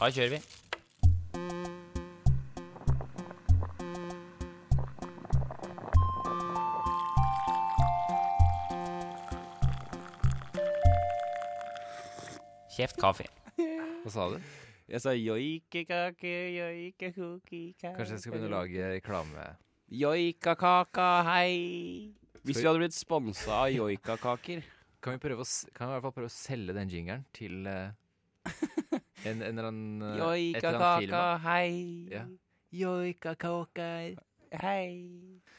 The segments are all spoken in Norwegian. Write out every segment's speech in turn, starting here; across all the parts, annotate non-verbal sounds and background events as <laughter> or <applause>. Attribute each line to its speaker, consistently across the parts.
Speaker 1: Da kjører vi. Kjeft kaffe.
Speaker 2: Hva sa du?
Speaker 1: Jeg sa joikekake, joikekokika
Speaker 2: Kanskje jeg skal begynne å lage reklame.
Speaker 1: Joikakaka, hei! Hvis
Speaker 2: Skal vi-
Speaker 1: vi hadde blitt sponsa av <laughs> joikakaker
Speaker 2: Kan vi, prøve å, s- kan vi i hvert fall prøve å selge den jingeren til eh, en, en eller annen eh, et eller annet
Speaker 1: Joikakaka,
Speaker 2: firma?
Speaker 1: hei!
Speaker 2: Ja. Joikakaker
Speaker 1: Hei!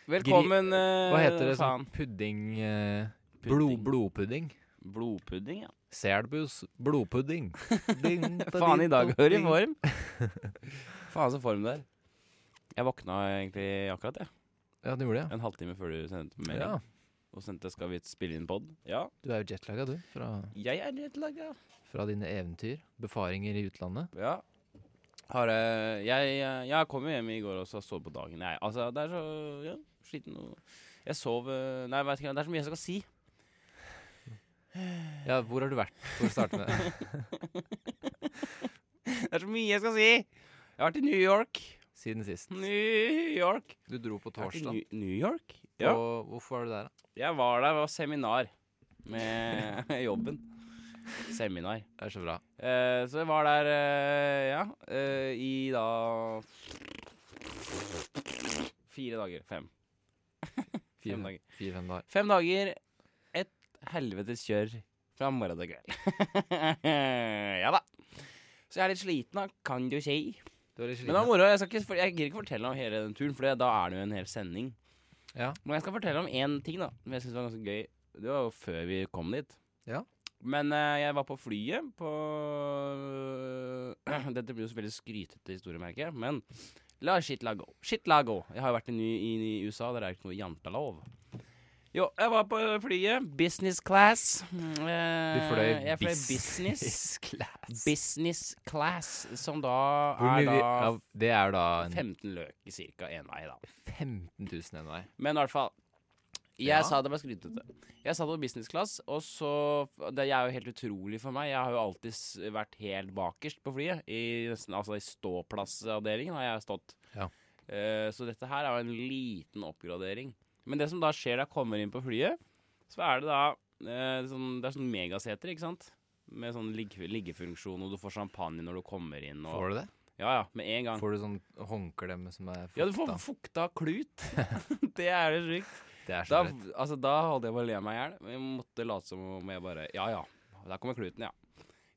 Speaker 1: Velkommen
Speaker 2: Hva heter det sånn pudding, eh,
Speaker 1: Pudding.
Speaker 2: Blod, Blodpudding?
Speaker 1: Blodpudding, ja.
Speaker 2: Selbus blodpudding. <laughs>
Speaker 1: <laughs>
Speaker 2: Ding,
Speaker 1: Faen, i dag er du i
Speaker 2: ding.
Speaker 1: form.
Speaker 2: <laughs>
Speaker 1: Faen, så form du er. Jeg våkna egentlig akkurat, jeg.
Speaker 2: Ja, du gjorde det.
Speaker 1: En halvtime før du sendte
Speaker 2: ja.
Speaker 1: melding.
Speaker 2: Ja,
Speaker 1: Og sendte 'Skal vi spille inn pod'? Ja.
Speaker 2: Du er jo jetlaga, du. Fra,
Speaker 1: Jeg er jetlaga.
Speaker 2: fra dine eventyr. Befaringer i utlandet.
Speaker 1: Ja. Har eh, jeg Jeg, jeg kom jo hjem i går og så sov på dagen. Jeg, altså, det er så ja, sliten og Jeg sov eh, Nei, jeg vet ikke, det er så mye jeg skal si. <laughs>
Speaker 2: Ja, hvor har du vært? For å starte med
Speaker 1: <laughs> Det er så mye jeg skal si! Jeg har vært i New York.
Speaker 2: Siden sist.
Speaker 1: New York.
Speaker 2: Du dro på
Speaker 1: Jeg har vært i
Speaker 2: torsdag.
Speaker 1: New, New York? Ja.
Speaker 2: Og hvorfor var du der, da?
Speaker 1: Jeg var der, det var seminar med <laughs> med jobben. Seminar.
Speaker 2: Det er så bra.
Speaker 1: Eh, så jeg var der, eh, ja, eh, i da Fire dager. Fem. <laughs> Fem
Speaker 2: Fire-
Speaker 1: dager.
Speaker 2: Fire-fem dager.
Speaker 1: Fem dager, et helvetes kjør fra morgen til kveld. <laughs> ja da. Så jeg er litt sliten, da, kan du si.
Speaker 2: Du var litt
Speaker 1: Men det var
Speaker 2: sliten?
Speaker 1: moro. Jeg, skal ikke, for- jeg gidder ikke fortelle om hele den turen, for det- da er det jo en hel sending.
Speaker 2: Ja.
Speaker 1: Men jeg skal fortelle om én ting, da. Som jeg synes var ganske gøy. Det var jo før vi kom dit.
Speaker 2: Ja.
Speaker 1: Men eh, jeg var på flyet på <clears throat> Dette blir jo så veldig skrytete historie, merker jeg, men la shit la go. Shit la go. Jeg har jo vært i, ny- i, i USA, der er det ikke noe jantelov. Jo, jeg var på flyet. Business class. Mm, eh,
Speaker 2: Du fløy
Speaker 1: Jeg fløy
Speaker 2: business
Speaker 1: business.
Speaker 2: <laughs> class.
Speaker 1: Business class, som da
Speaker 2: Hvor
Speaker 1: er
Speaker 2: mye
Speaker 1: da
Speaker 2: vi, ja, det er da en
Speaker 1: 15 løk i cirka én vei, da.
Speaker 2: 15 000 en vei.
Speaker 1: Men i hvert fall. Jeg
Speaker 2: Ja.
Speaker 1: sa det var skrytete. Jeg satt på business class, og så Det er jo helt utrolig for meg. Jeg har jo alltid s- vært helt bakerst på flyet. I, nesten- altså i ståplassavdelingen har jeg stått.
Speaker 2: Ja.
Speaker 1: Eh, så dette her er jo en liten oppgradering. Men det som da skjer da jeg kommer inn på flyet, så er det da eh, sånn, Det er sånn megaseter, ikke sant? Med sånn ligge, liggefunksjon, og du får champagne når du kommer inn. Og,
Speaker 2: Får du det?
Speaker 1: Ja, ja, med en gang.
Speaker 2: Får du sånn håndkle med som er
Speaker 1: ja, du får
Speaker 2: fukta?
Speaker 1: fukta klut. <laughs> det er jo sjukt.
Speaker 2: Det er
Speaker 1: Da,
Speaker 2: så rett.
Speaker 1: altså, da holdt jeg på å le meg i hjel. men Jeg måtte late som om jeg bare Ja, ja. Der kommer kluten, ja.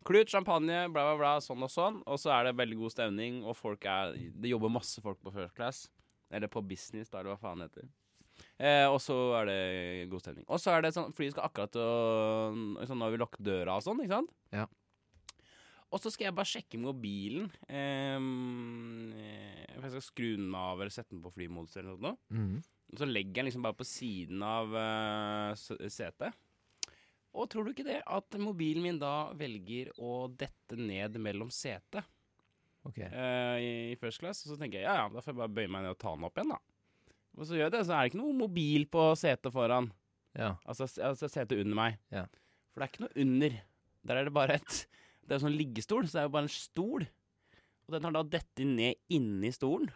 Speaker 1: Klut, champagne, bla, bla, bla, sånn og sånn. Og så er det veldig god stemning, og folk er Det jobber masse folk på first class. Eller på business, da, eller hva faen det heter. Eh, og så er det god stemning. Og så er det sånn Flyet skal akkurat å sånn, Nå har vi lukket døra og sånn, ikke sant?
Speaker 2: Ja.
Speaker 1: Og så skal jeg bare sjekke mobilen. ehm, Eh, for jeg skal skru den av eller sette den på flymodus eller noe. sånt nå.
Speaker 2: Mhm.
Speaker 1: Så legger jeg den liksom bare på siden av eh, s- setet. Og tror du ikke det at mobilen min da velger å dette ned mellom setet
Speaker 2: Ok.
Speaker 1: eh, i, i first class? Og så tenker jeg ja ja, da får jeg bare bøye meg ned og ta den opp igjen, da. Og så gjør jeg det, så er det ikke noe mobil på setet foran.
Speaker 2: Ja.
Speaker 1: Altså, s- altså setet under meg.
Speaker 2: Ja.
Speaker 1: For det er ikke noe under. Der er det bare et Det er jo sånn liggestol, så det er jo bare en stol. Og den har da dettet ned inni stolen.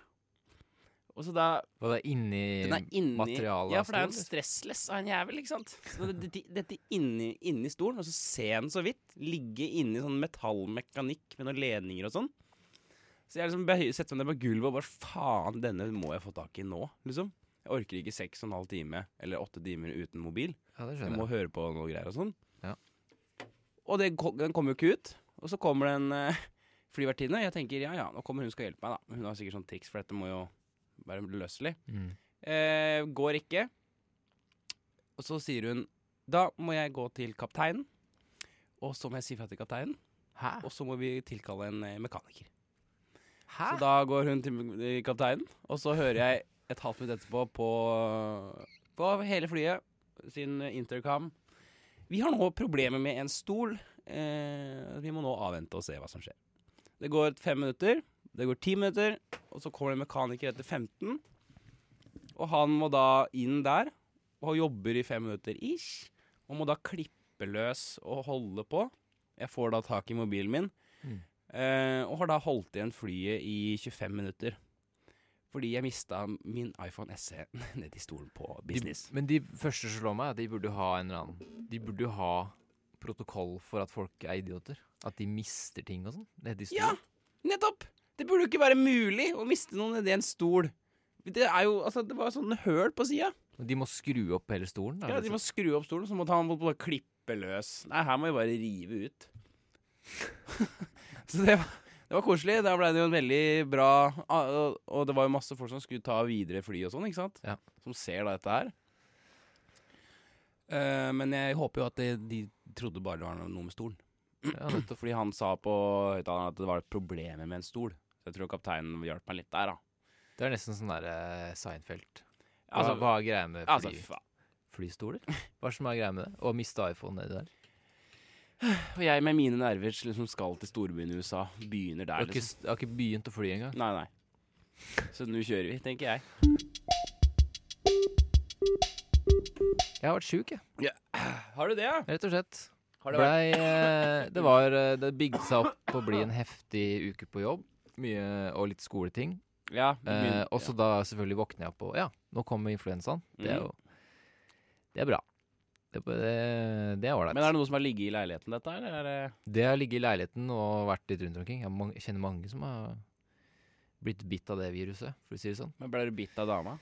Speaker 1: Og så da
Speaker 2: Og det er inni
Speaker 1: den er inni
Speaker 2: materialet
Speaker 1: Ja,
Speaker 2: av
Speaker 1: for det er en
Speaker 2: stolen,
Speaker 1: stressless av en jævel, ikke sant. Så det- det- Dette inni, inni stolen, og så ser jeg den så vidt. Ligge inni sånn metallmekanikk med noen ledninger og sånn. Så jeg liksom behøy- setter meg ned på gulvet og bare faen, denne må jeg få tak i nå, liksom. Jeg orker ikke seks og en halv time eller åtte timer uten mobil.
Speaker 2: Ja, det
Speaker 1: Jeg
Speaker 2: skjønner
Speaker 1: må
Speaker 2: jeg.
Speaker 1: høre på noe greier og sånn.
Speaker 2: Ja.
Speaker 1: Og det, ko- den kommer jo ikke ut. Og så kommer det en eh, flyvertinne. Jeg tenker ja ja, nå kommer hun skal hjelpe meg, da. Hun har sikkert sånn triks, for dette må jo være løselig.
Speaker 2: Mm.
Speaker 1: Eh, går ikke. Og så sier hun da må jeg gå til kapteinen. Og så må jeg si fra til kapteinen,
Speaker 2: Hæ?
Speaker 1: og så må vi tilkalle en eh, mekaniker.
Speaker 2: Hæ?
Speaker 1: Så da går hun til eh, kapteinen, og så hører jeg et halvt minutt etterpå på, på hele flyet sin intercom. Vi har nå problemer med en stol. Eh, vi må nå avvente og se hva som skjer. Det går fem minutter, det går ti minutter, og så kommer det en mekaniker etter 15. Og han må da inn der, og jobber i fem minutter ish, og må da klippe løs og holde på. Jeg får da tak i mobilen min.
Speaker 2: Mm.
Speaker 1: Eh, Eh, og har da holdt igjen flyet i 25 minutter. Fordi jeg mista min iPhone <laughs> SE nedi stolen på business.
Speaker 2: De, men de første som slår meg, er at de burde jo ha en eller annen De burde jo ha protokoll for at folk er idioter. At de mister ting og sånn. Nedi
Speaker 1: Ja,
Speaker 2: stolen.
Speaker 1: nettopp! Det burde jo ikke være mulig å miste noe nedi en stol. Det er jo, altså, det var sånn høl på sida.
Speaker 2: Og De må skru opp hele stolen. er
Speaker 1: Ja,
Speaker 2: det
Speaker 1: de
Speaker 2: sånn?
Speaker 1: må skru opp stolen, så må han bare klippe løs. Nei, her må vi bare rive ut. <laughs> så det var, det var koselig. Da ble det jo en veldig bra ah, Og og det var jo masse folk som skulle ta videre fly og sånn, ikke sant?
Speaker 2: Ja.
Speaker 1: Som ser da dette her. Eh, men jeg håper jo at det, de trodde bare det var noe med stolen.
Speaker 2: Ja, nettopp.
Speaker 1: Fordi han sa på høyttaleren at det var problemer med en stol. Så jeg tror kapteinen hjalp meg litt der, da.
Speaker 2: det er nesten sånn der eh, Seinfeld. Hva,
Speaker 1: Altså,
Speaker 2: hva er greia med fly,
Speaker 1: altså faen.
Speaker 2: flystoler? Hva er det som er greia med det? Å miste iPhone nedi der?
Speaker 1: Og jeg med mine nerver liksom skal til storbyen i USA. Begynner
Speaker 2: Jeg
Speaker 1: der,
Speaker 2: har ikke,
Speaker 1: liksom.
Speaker 2: s- jeg har ikke begynt å fly engang.
Speaker 1: Nei, nei. Så nå kjører vi, tenker jeg.
Speaker 2: Jeg har vært sjuk, jeg.
Speaker 1: Har du det, ja?
Speaker 2: Rett og slett.
Speaker 1: Har
Speaker 2: det,
Speaker 1: det vært?
Speaker 2: Blei, eh, det var eh, Det bygde seg opp på å bli en heftig uke på jobb. Mye og litt skoleting.
Speaker 1: Ja. du
Speaker 2: Eh,
Speaker 1: begynner-
Speaker 2: og så da selvfølgelig våkner jeg opp og Ja, nå kommer influensaen. Det er
Speaker 1: Mhm.
Speaker 2: jo Det er bra. Det er- det- det er
Speaker 1: ja. Men er
Speaker 2: ålreit.
Speaker 1: det noe som har ligget i leiligheten, dette her? Eller er det
Speaker 2: Det har ligget i leiligheten og vært litt rundt omkring. Jeg har mange, kjenner mange som har blitt bitt av det viruset, for å si det sånn.
Speaker 1: Men ble du bitt av dama?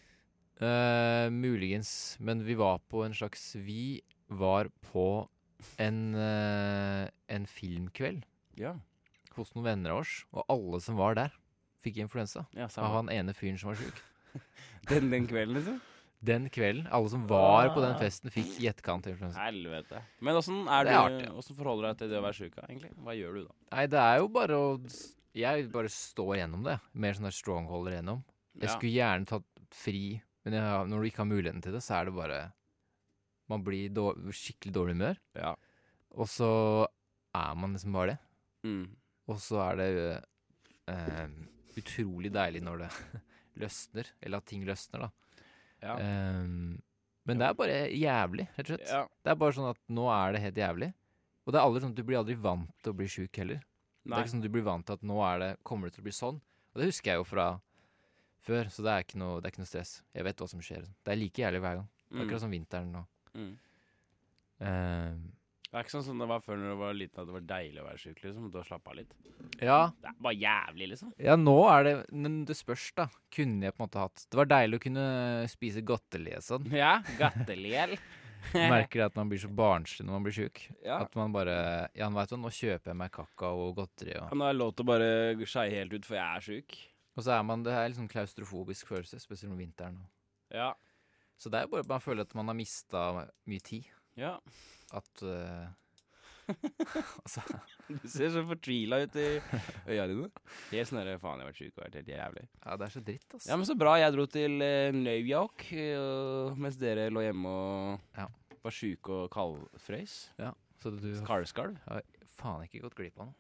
Speaker 2: Eh, muligens. Men vi var på en slags Vi var på en, eh, en filmkveld.
Speaker 1: Ja.
Speaker 2: hos noen venner av oss, og alle som var der, fikk influensa.
Speaker 1: ja
Speaker 2: Av
Speaker 1: samme.
Speaker 2: han ene fyren som var sjuk.
Speaker 1: <laughs> Den, den kvelden, liksom?
Speaker 2: Den kvelden, alle som var på den
Speaker 1: Ah.
Speaker 2: festen, fikk i etterkant influensa.
Speaker 1: Helvete. Men åssen er
Speaker 2: Det er artig,
Speaker 1: du Hvordan forholder du deg til det å være sjuk, da, egentlig? Hva gjør du da?
Speaker 2: Nei, det er jo bare å Jeg bare står gjennom det. Mer sånn der strongholder gjennom. Jeg
Speaker 1: Ja.
Speaker 2: skulle gjerne tatt fri, men jeg, har- når du ikke har muligheten til det, så er det bare Man blir dår, skikkelig dårlig humør,
Speaker 1: Ja.
Speaker 2: og så er man liksom bare det.
Speaker 1: Mm.
Speaker 2: Og så er det eh, utrolig deilig når det <laughs> løsner, eller at ting løsner, da.
Speaker 1: Ja.
Speaker 2: Ehm, men det er bare jævlig, rett og slett.
Speaker 1: ja.
Speaker 2: Det er bare sånn at nå er det helt jævlig. Og det er aldri sånn at du blir aldri vant til å bli sjuk heller. Det
Speaker 1: Nei.
Speaker 2: er ikke sånn at du blir vant til at nå er det, kommer det til å bli sånn. Og det husker jeg jo fra før, så det er ikke noe, det er ikke noe stress. Jeg vet hva som skjer. Det er like jævlig hver gang. Det er sånn-
Speaker 1: Mm.
Speaker 2: Akkurat som vinteren nå.
Speaker 1: Mm.
Speaker 2: Ehm,
Speaker 1: Det er ikke sånn som det var før når du var liten, at det var deilig å være sjuk, liksom. Du har slappa av litt.
Speaker 2: ja,
Speaker 1: Det er bare jævlig,
Speaker 2: <laughs>
Speaker 1: liksom.
Speaker 2: ja, nå er det Men det spørs, da. Kunne jeg på en måte hatt Det var deilig å kunne spise godteri og
Speaker 1: <laughs>
Speaker 2: sånn.
Speaker 1: Ja. Gatteliel.
Speaker 2: Merker det at man blir så barnslig når man blir sjuk.
Speaker 1: ja.
Speaker 2: At man bare Ja, nå vet du, nå kjøper jeg meg kakao og godteri og
Speaker 1: Nå har jeg lov til å bare skeie helt ut, for jeg er sjuk.
Speaker 2: Og så er man Det er litt sånn klaustrofobisk følelse, spesielt om vinteren.
Speaker 1: Ja.
Speaker 2: Så det er jo bare at man føler at man har mista mye tid.
Speaker 1: Ja.
Speaker 2: At eh, Altså
Speaker 1: <laughs> Du ser så fortvila ut i øya dine. Helt sånn der, faen, jeg har vært sjuk og vært helt jævlig.
Speaker 2: Ja, det er så dritt, ass.
Speaker 1: Ja, men så bra. Jeg dro til eh, New York eh, mens dere lå hjemme og
Speaker 2: Ja.
Speaker 1: var sjuke og kaldfrøys.
Speaker 2: Så du har
Speaker 1: Kalvskalv.
Speaker 2: faen ikke gått glipp av noe.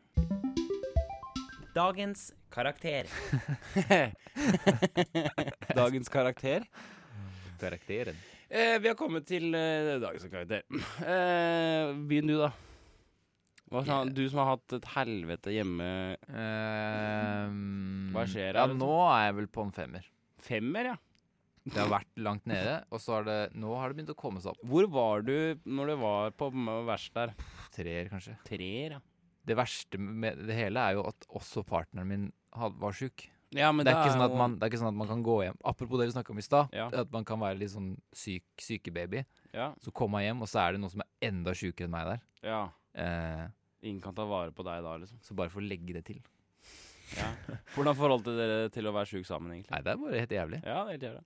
Speaker 3: Dagens karakter.
Speaker 1: <laughs> Dagens karakter.
Speaker 2: Karakteren.
Speaker 1: Eh, vi har kommet til eh, dagens karakter. Eh, begynn du, da. Hva, sa han? du som har hatt et helvete hjemme Hva skjer
Speaker 2: Ehm, Ja,
Speaker 1: her, liksom?
Speaker 2: nå er jeg vel på en femmer.
Speaker 1: femmer, ja.
Speaker 2: Det har vært langt nede, og så har det Nå har det begynt å komme seg opp.
Speaker 1: Hvor var du når du var på verst der?
Speaker 2: Treer, kanskje.
Speaker 1: Treer, ja.
Speaker 2: Det verste med det hele er jo at også partneren min had- var sjuk.
Speaker 1: ja men
Speaker 2: det, er ikke
Speaker 1: da
Speaker 2: sånn at
Speaker 1: jo-
Speaker 2: man, det er ikke sånn at man kan gå hjem Apropos det vi snakka om i stad,
Speaker 1: Ja.
Speaker 2: at man kan være litt sånn syk, sykebaby.
Speaker 1: Ja.
Speaker 2: Så kommer jeg hjem, og så er det noen som er enda sjukere enn meg der.
Speaker 1: ja.
Speaker 2: Eh,
Speaker 1: Ingen kan ta vare på deg da, liksom.
Speaker 2: så bare for å legge det til.
Speaker 1: Hvordan forholdt dere til å være sjuk sammen, egentlig?
Speaker 2: Nei, det er bare helt jævlig.
Speaker 1: Ja, det er helt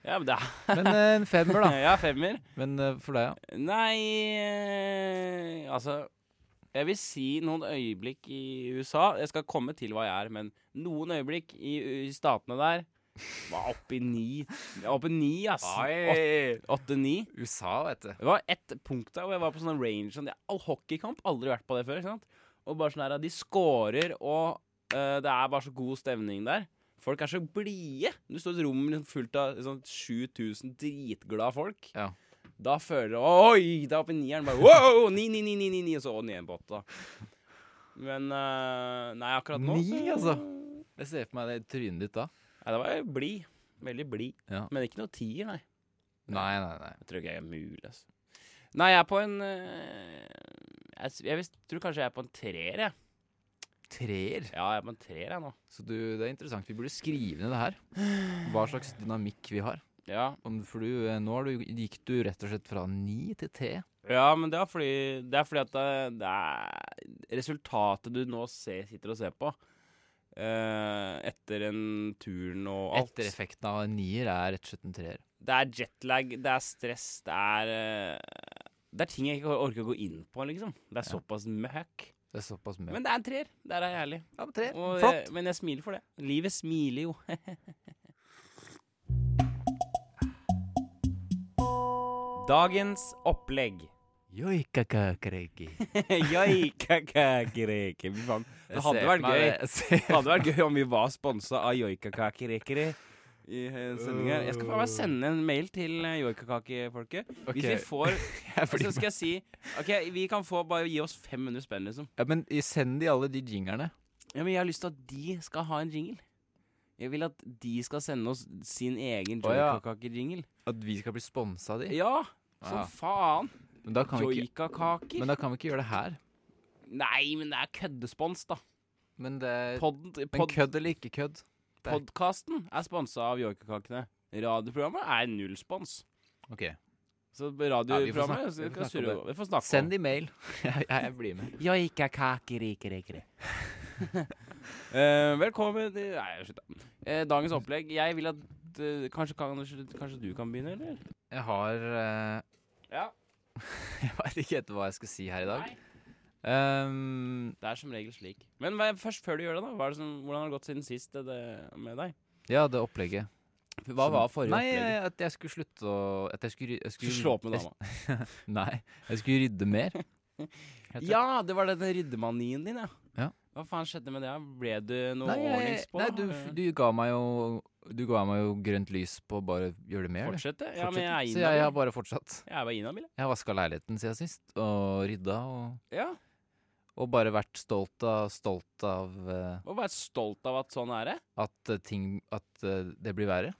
Speaker 1: jævla. Ja, men det er
Speaker 2: Men eh, en femmer, da.
Speaker 1: Ja, femmer.
Speaker 2: Men eh, for deg, ja.
Speaker 1: Nei eh, Altså, jeg vil si noen øyeblikk i USA. Jeg skal komme til hva jeg er, men noen øyeblikk i, i statene der var oppe i ni. Oppe i ni, ass. Åtte-ni.
Speaker 2: USA, vet du.
Speaker 1: Det var ett punkt der hvor jeg var på sånn range sånn, jeg- all Hockeykamp, aldri vært på det før. ikke sant? Og bare sånn her, De scorer, og eh, det er bare så god stemning der. Folk er så blide. Du står i et rom liksom fullt av sånn 7000 dritglade folk.
Speaker 2: Ja.
Speaker 1: Da føler du Oi! Det er oppe i nieren. Bare, wow! Ni, ni, ni, ni, ni, ni, og så og ned igjen på åtte. da. Men eh, nei, akkurat nå
Speaker 2: Ni,
Speaker 1: så-
Speaker 2: altså? Jeg ser for meg det trynet ditt da.
Speaker 1: Nei, det var blid. Veldig blid.
Speaker 2: Ja.
Speaker 1: Men ikke noe tier, nei.
Speaker 2: Nei, nei, nei.
Speaker 1: Jeg tror ikke jeg er mulig, altså. Nei, jeg er på en eh, jeg, s- jeg visst- tror kanskje jeg er på en treer, jeg.
Speaker 2: Treer.
Speaker 1: Ja, jeg er på en treer, jeg nå.
Speaker 2: Så du, det er interessant. Vi burde skrive ned det her. Hva slags dynamikk vi har.
Speaker 1: Ja,
Speaker 2: Om, for du, eh, nå har du, gikk du rett og slett fra ni til te.
Speaker 1: ja men det er fordi, det er fordi at det, det er resultatet du nå ser, sitter og ser på eh, etter en turen og alt.
Speaker 2: Etter effekten av en nier er rett og slett en treer.
Speaker 1: Det er jetlag, det er stress, det er eh, Det er ting jeg ikke orker å gå inn på, liksom. Det er såpass møkk.
Speaker 2: Det er såpass mye.
Speaker 1: Men det er en treer. Der er jeg ærlig.
Speaker 2: ja, men tre.
Speaker 1: Og,
Speaker 2: Flott.
Speaker 1: jeg- men jeg smiler for det. Livet smiler jo. <laughs> Dagens <laughs> opplegg.
Speaker 2: Joikakakereki.
Speaker 1: Joikakakereke. Fy faen. Det hadde vært gøy. Det hadde vært gøy om vi var sponsa av joikakakerekere. I eh, sendingen her. Jeg skal faen meg sende en mail til eh, joikakakefolket. Hvis vi altså. får <laughs>
Speaker 2: jeg blir
Speaker 1: Så skal jeg si Ok, vi kan få bare gi oss 500 spenn, liksom.
Speaker 2: Ja, men send de alle de jingerne.
Speaker 1: Ja, men jeg har lyst til at de skal ha en jingle. Jeg vil at de skal sende oss sin egen
Speaker 2: Å, ja.
Speaker 1: joikakaker-jingle.
Speaker 2: At vi skal bli sponsa av de.
Speaker 1: Ja, som
Speaker 2: Ja.
Speaker 1: faen!
Speaker 2: Men, da kan vi ikke,
Speaker 1: Joikakaker.
Speaker 2: men da kan vi ikke gjøre det her.
Speaker 1: Nei, men det er køddespons, da.
Speaker 2: Men det er
Speaker 1: Pod,
Speaker 2: Men
Speaker 1: pod,
Speaker 2: kødd eller ikke kødd?
Speaker 1: podkasten er sponsa av joikakakene. Radioprogrammet er null spons.
Speaker 2: Ok.
Speaker 1: Så
Speaker 2: Ja, vi får snakke-
Speaker 1: radioprogrammet
Speaker 2: vi får
Speaker 1: skal
Speaker 2: snakke
Speaker 1: surre
Speaker 2: om det.
Speaker 1: over. Vi får snakke
Speaker 2: Send de
Speaker 1: <laughs>
Speaker 2: mail. jeg, jeg blir med.
Speaker 1: Joikakakerekerekere. <laughs> uh, velkommen til Nei, slutt, da. Eh, dagens opplegg. Jeg vil at eh, kanskje, kan, kanskje du kan begynne, eller?
Speaker 2: Jeg har eh, <laughs>
Speaker 1: Ja.
Speaker 2: Jeg veit ikke helt hva jeg skal si her i dag.
Speaker 1: Nei.
Speaker 2: Um,
Speaker 1: Det er som regel slik. Men hva, først før du gjør det, da. Hva er det som, hvordan har det gått siden sist det, det, med deg?
Speaker 2: Ja, det opplegget.
Speaker 1: Hva var forrige
Speaker 2: Nei,
Speaker 1: opplegg?
Speaker 2: at jeg skulle slutte å At jeg skulle, ry- jeg
Speaker 1: Du
Speaker 2: skulle
Speaker 1: slå opp med dama.
Speaker 2: Jeg, <laughs> nei, jeg skulle rydde
Speaker 1: <laughs>
Speaker 2: mer. Rett og slett.
Speaker 1: Ja, det var denne ryddemanien din, ja.
Speaker 2: Ja.
Speaker 1: Hva faen skjedde med det? da? Ble du noe
Speaker 2: Nei, jeg,
Speaker 1: ordnings på?
Speaker 2: nei du,
Speaker 1: Eh,
Speaker 2: du ga meg jo Du ga meg jo grønt lys på å bare gjøre det mer. du.
Speaker 1: Fortsette? Ja, men jeg er
Speaker 2: Så jeg har
Speaker 1: inhabil.
Speaker 2: bare fortsatt.
Speaker 1: Jeg er bare inhabil, jeg.
Speaker 2: Jeg har vaska leiligheten siden sist, og rydda, og,
Speaker 1: Ja.
Speaker 2: og bare vært stolt av, stolt av eh,
Speaker 1: Må være stolt av at sånn er
Speaker 2: <laughs>
Speaker 1: det.
Speaker 2: at eh, ting At eh, det blir verre.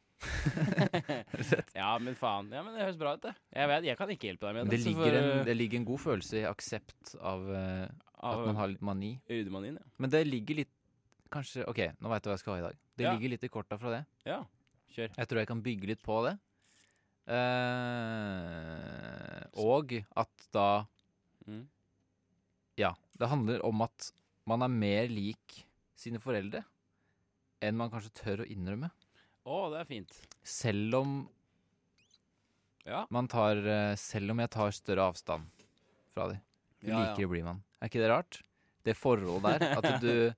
Speaker 1: Ja, men faen. Ja, men Det høres bra ut, det. Jeg vet, jeg kan ikke hjelpe deg med
Speaker 2: Men det
Speaker 1: så
Speaker 2: ligger, en,
Speaker 1: får,
Speaker 2: det ligger en god følelse i aksept av eh,
Speaker 1: uh,
Speaker 2: at
Speaker 1: av
Speaker 2: man har litt mani.
Speaker 1: Ryddemanien, ja.
Speaker 2: Men det ligger litt Kanskje, ok, nå veit du hva jeg skal ha i dag. Det
Speaker 1: Ja.
Speaker 2: ligger litt i korta fra det.
Speaker 1: Ja, kjør.
Speaker 2: Jeg tror jeg kan bygge litt på det. Eh, og at da
Speaker 1: Mm.
Speaker 2: Ja, det handler om at man er mer lik sine foreldre enn man kanskje tør å innrømme.
Speaker 1: Å, det er fint.
Speaker 2: Selv om
Speaker 1: Ja.
Speaker 2: man tar eh, Selv om jeg tar større avstand fra dem.
Speaker 1: Ja, ja.
Speaker 2: likere blir man. Er ikke det rart? Det forholdet der.
Speaker 1: <laughs>
Speaker 2: At du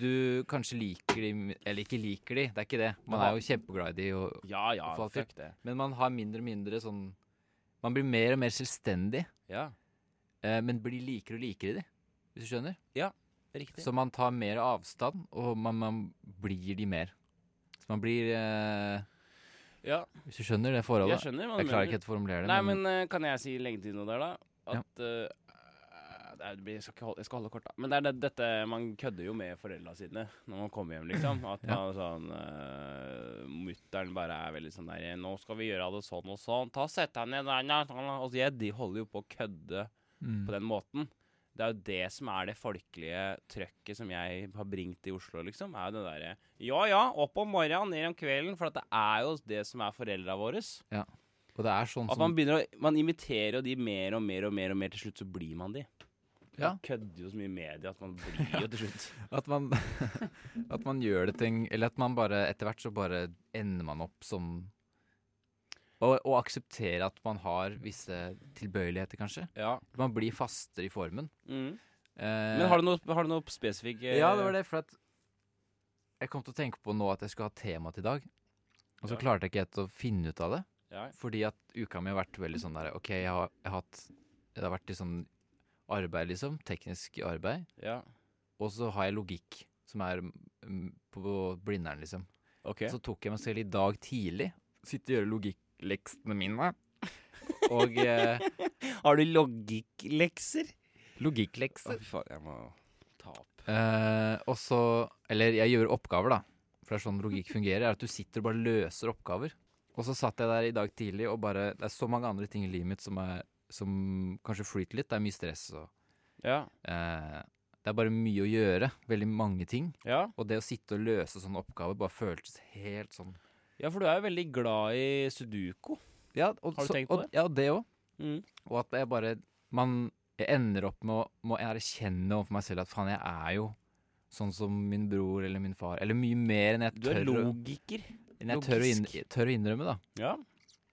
Speaker 2: Du kanskje liker de Eller ikke liker de, det er ikke det. Man er jo kjempeglad i de og
Speaker 1: Ja ja,
Speaker 2: For alltid.
Speaker 1: fuck det.
Speaker 2: Men man har mindre og mindre sånn Man blir mer og mer selvstendig,
Speaker 1: Ja,
Speaker 2: eh, men blir likere og likere i de, hvis du skjønner?
Speaker 1: riktig.
Speaker 2: Så man tar mer avstand, og man, man blir de mer. Så man blir eh,
Speaker 1: ja,
Speaker 2: Hvis du skjønner det
Speaker 1: jeg
Speaker 2: forholdet? Jeg,
Speaker 1: skjønner hva du
Speaker 2: klarer
Speaker 1: mener.
Speaker 2: ikke helt å formulere det.
Speaker 1: Nei, men eh, kan jeg si legge til noe der, da?
Speaker 2: Ja.
Speaker 1: At eh, det er- det blir, jeg, skal ikke holde, jeg skal holde kort, da. Men det er det, dette Man kødder jo med foreldra sine når man kommer hjem,
Speaker 2: <laughs>
Speaker 1: liksom. At
Speaker 2: Ja.
Speaker 1: man sånn eh, Mutter'n bare er veldig sånn der 'Nå skal vi gjøre det sånn og sånn. Ta Sett deg ned der.' na, na, na.» Altså, jeg, de holder jo på å kødde
Speaker 2: mm.
Speaker 1: på den måten. Det er jo det som er det folkelige trøkket som jeg har bringt i Oslo, liksom. Er jo det derre Ja ja, opp om morgenen, ned om kvelden. For at det er jo det som er foreldra våre.
Speaker 2: Og det er sånn
Speaker 1: At
Speaker 2: som
Speaker 1: man begynner å Man imiterer jo de mer og mer og mer, og mer til slutt så blir man de.
Speaker 2: Ja.
Speaker 1: Man kødder jo så mye i media at man blir <laughs> jo til slutt.
Speaker 2: At man, <laughs> at man gjør det ting Eller at man bare etter hvert så bare ender man opp som å, å akseptere at man har visse tilbøyeligheter, kanskje.
Speaker 1: Ja.
Speaker 2: Man blir fastere i formen.
Speaker 1: Mm.
Speaker 2: Eh,
Speaker 1: Men har du noe, har du noe spesifikk eh,
Speaker 2: Ja, det var det, for at jeg kom til å tenke på nå at jeg skulle ha tema til i dag. Og så
Speaker 1: Ja.
Speaker 2: klarte jeg ikke helt å finne ut av det.
Speaker 1: Ja.
Speaker 2: Fordi at uka mi har vært veldig sånn der OK, jeg har, jeg har hatt Det har vært litt sånn arbeid, liksom. Teknisk arbeid.
Speaker 1: ja.
Speaker 2: Og så har jeg logikk, som er mm, på blinderen, liksom.
Speaker 1: OK.
Speaker 2: Så tok jeg meg selv i dag tidlig. Sitte og gjøre logikkleksene mine. Og eh,
Speaker 1: har du logikklekser?
Speaker 2: logikklekser.
Speaker 1: faen, jeg må
Speaker 2: Eh, og så Eller jeg gjør oppgaver, da. For det er sånn logikk fungerer. Er at du sitter og bare løser oppgaver. Og så satt jeg der i dag tidlig og bare Det er så mange andre ting i livet mitt som, er, som kanskje flyter litt. Det er mye stress og
Speaker 1: Ja.
Speaker 2: eh, Det er bare mye å gjøre. Veldig mange ting.
Speaker 1: ja.
Speaker 2: Og det å sitte og løse sånne oppgaver bare føltes helt sånn
Speaker 1: Ja, for du er jo veldig glad i sudoku.
Speaker 2: ja, og,
Speaker 1: Har du
Speaker 2: så-
Speaker 1: tenkt på
Speaker 2: og, det? Ja, det òg.
Speaker 1: Mm.
Speaker 2: Og at jeg bare Man jeg ender opp med å må erkjenne overfor meg selv at faen, jeg er jo sånn som min bror eller min far. Eller mye mer enn jeg
Speaker 1: Du
Speaker 2: tør,
Speaker 1: er
Speaker 2: å-
Speaker 1: logiker.
Speaker 2: enn jeg tør, å, inn,
Speaker 1: logisk.
Speaker 2: tør å innrømme, da.
Speaker 1: Ja.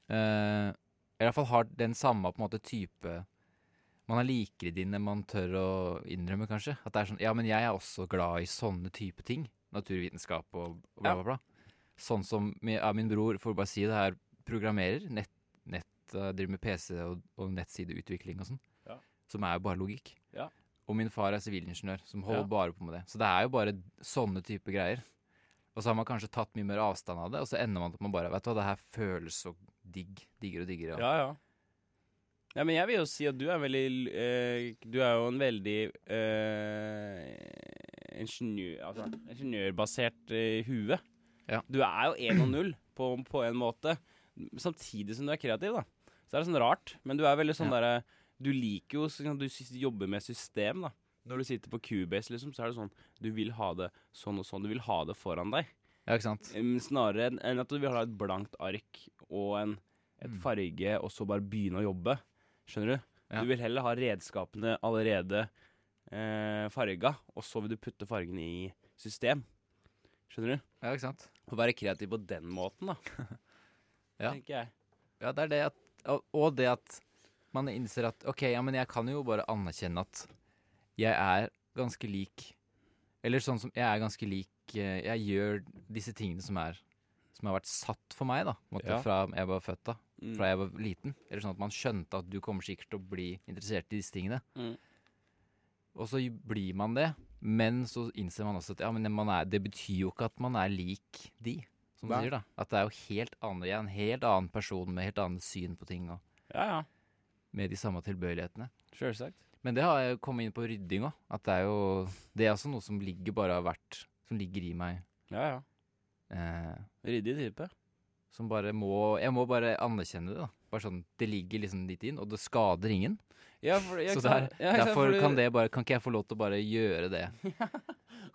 Speaker 2: Eh, I hvert fall har den samme på en måte type Man er likere dine man tør å innrømme, kanskje. At det er sånn Ja, men jeg er også glad i sånne type ting. Naturvitenskap og og bla,
Speaker 1: Ja.
Speaker 2: bla, bla. Sånn som min, ja, min bror, for å bare si det her, programmerer. Nett, nett eh, driver med PC og, og nettsideutvikling og sånn.
Speaker 1: Ja.
Speaker 2: Som er jo bare logikk.
Speaker 1: Ja.
Speaker 2: Og min far er sivilingeniør, som holder
Speaker 1: Ja.
Speaker 2: bare på med det. Så det er jo bare sånne type greier. Og så har man kanskje tatt mye mer avstand av det, og så ender man opp med bare Vet du hva, det her føles så digg. Diggere og diggere.
Speaker 1: Ja, ja. Ja, men jeg vil jo si at du er veldig eh, Du er jo en veldig eh, ingeniør, altså, ingeniørbasert eh, hue.
Speaker 2: Ja.
Speaker 1: Du er jo 1 og 0 på, på en måte, samtidig som du er kreativ, da. Så det er sånn rart, men du er veldig sånn
Speaker 2: Ja.
Speaker 1: derre Du liker jo sånn, Du sys- jobber med system, da. Når du sitter på Cubase, liksom, så er det sånn Du vil ha det sånn og sånn. Du vil ha det foran deg.
Speaker 2: Ja, ikke sant?
Speaker 1: Mm, Snarere enn- enn at du vil ha et blankt ark og en, et
Speaker 2: Mm.
Speaker 1: farge, og så bare begynne å jobbe. Skjønner du?
Speaker 2: Ja.
Speaker 1: Du vil heller ha redskapene allerede eh, farga, og så vil du putte fargene i system. Skjønner du?
Speaker 2: Ja, ikke sant?
Speaker 1: Å være kreativ på den måten, <laughs> da.
Speaker 2: Ja.
Speaker 1: Tenker jeg.
Speaker 2: Ja, det er det at og- Og det at man innser at OK, ja, men jeg kan jo bare anerkjenne at jeg er ganske lik Eller sånn som Jeg er ganske lik eh, Jeg gjør disse tingene som er Som har vært satt for meg, da. på en Måte,
Speaker 1: Ja.
Speaker 2: Fra jeg var født av.
Speaker 1: Mm.
Speaker 2: Fra jeg var liten. Eller sånn at man skjønte at du kommer sikkert til å bli interessert i disse tingene.
Speaker 1: Mm.
Speaker 2: Og så blir man det, men så innser man også at ja, men man er, det betyr jo ikke at man er lik de. Som du
Speaker 1: Nei.
Speaker 2: sier da. At det er jo helt annet, jeg er en helt annen person med helt annet syn på ting og
Speaker 1: Ja, ja.
Speaker 2: med de samme tilbøyelighetene.
Speaker 1: Sjølsagt.
Speaker 2: Men det har jeg jo kommet inn på rydding òg. At det er jo Det er også noe som ligger bare har vært Som ligger i meg.
Speaker 1: Ja, ja.
Speaker 2: Eh,
Speaker 1: Ryddig type.
Speaker 2: som bare må Jeg må bare anerkjenne det, da. Bare sånn, Det ligger liksom litt inn, og det skader ingen.
Speaker 1: Ja, for, ja,
Speaker 2: Så
Speaker 1: ikke sant?
Speaker 2: der-
Speaker 1: Ja, ikke sant,
Speaker 2: Derfor
Speaker 1: fordi-
Speaker 2: kan det bare Kan ikke jeg få lov til å bare
Speaker 1: <laughs>
Speaker 2: gjøre det?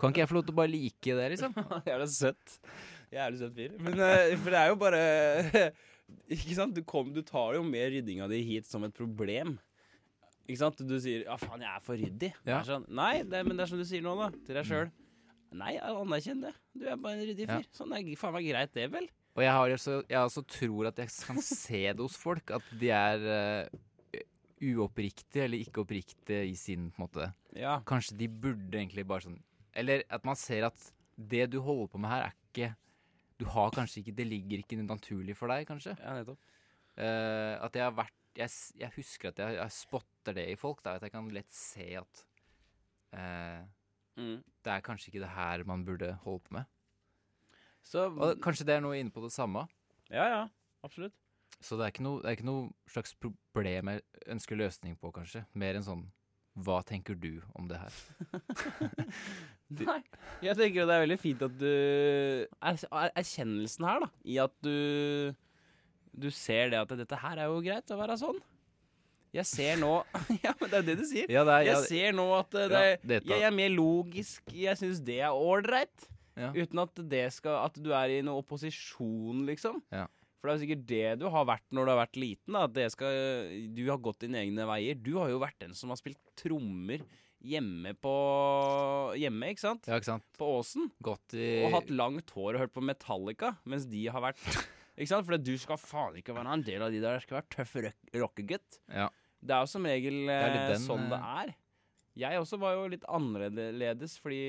Speaker 2: Kan ikke jeg få lov til å bare like det, liksom?
Speaker 1: Jævla søtt. Jævlig søtt fyr. Men eh, for det er jo bare <laughs> Ikke sant? Du, kom, du tar jo med ryddinga di hit som et problem. Ikke sant? Du sier 'ja, faen, jeg er for ryddig'. Det
Speaker 2: Ja.
Speaker 1: er sånn, Nei, det, men det er som du sier nå, da. Til deg sjøl. Mm. Nei, jeg anerkjenn det. Du er bare en ryddig
Speaker 2: Ja.
Speaker 1: fyr. Sånn er faen meg greit, det, vel?
Speaker 2: Og jeg, har også, jeg også tror at jeg kan se det hos folk, at de er eh, uoppriktige eller ikke oppriktige i sin på en måte.
Speaker 1: Ja.
Speaker 2: Kanskje de burde egentlig bare sånn Eller at man ser at det du holder på med her, er ikke Du har kanskje ikke Det ligger ikke naturlig for deg, kanskje.
Speaker 1: Ja, nettopp.
Speaker 2: Eh, at jeg har vært jeg, s- jeg husker at jeg, jeg spotter det i folk, da, at jeg kan lett se at eh,
Speaker 1: Mm.
Speaker 2: det er kanskje ikke det her man burde holde på med.
Speaker 1: Så
Speaker 2: Og kanskje det er noe inne på det samme.
Speaker 1: Ja, ja. Absolutt.
Speaker 2: Så det er ikke noe, det er ikke noe slags problem jeg ønsker løsning på, kanskje. Mer enn sånn Hva tenker du om det her?
Speaker 1: Nei. Jeg tenker jo det er veldig fint at du er, er, Erkjennelsen her, da, i at du Du ser det at dette her er jo greit å være sånn. Jeg ser nå <laughs> Ja, men det er jo det du sier.
Speaker 2: Ja, det er,
Speaker 1: Jeg ser nå at eh, det,
Speaker 2: Ja, dette-
Speaker 1: jeg er mer logisk, jeg syns det er ålreit.
Speaker 2: Ja.
Speaker 1: Uten at det skal At du er i noe opposisjon, liksom.
Speaker 2: Ja.
Speaker 1: For det er jo sikkert det du har vært når du har vært liten. Da, at det skal, du har gått dine egne veier. Du har jo vært den som har spilt trommer hjemme på Hjemme, ikke sant?
Speaker 2: ja, ikke sant?
Speaker 1: på Åsen
Speaker 2: Godt i
Speaker 1: og hatt langt hår og hørt på Metallica, mens de har
Speaker 2: <laughs>
Speaker 1: vært Ikke sant? For du skal faen ikke være en del av de der. Du skal være tøff rock- rockegutt.
Speaker 2: Ja.
Speaker 1: Det er jo som regel
Speaker 2: er
Speaker 1: eh,
Speaker 2: litt den,
Speaker 1: sånn det er. Jeg også var jo litt annerledes, fordi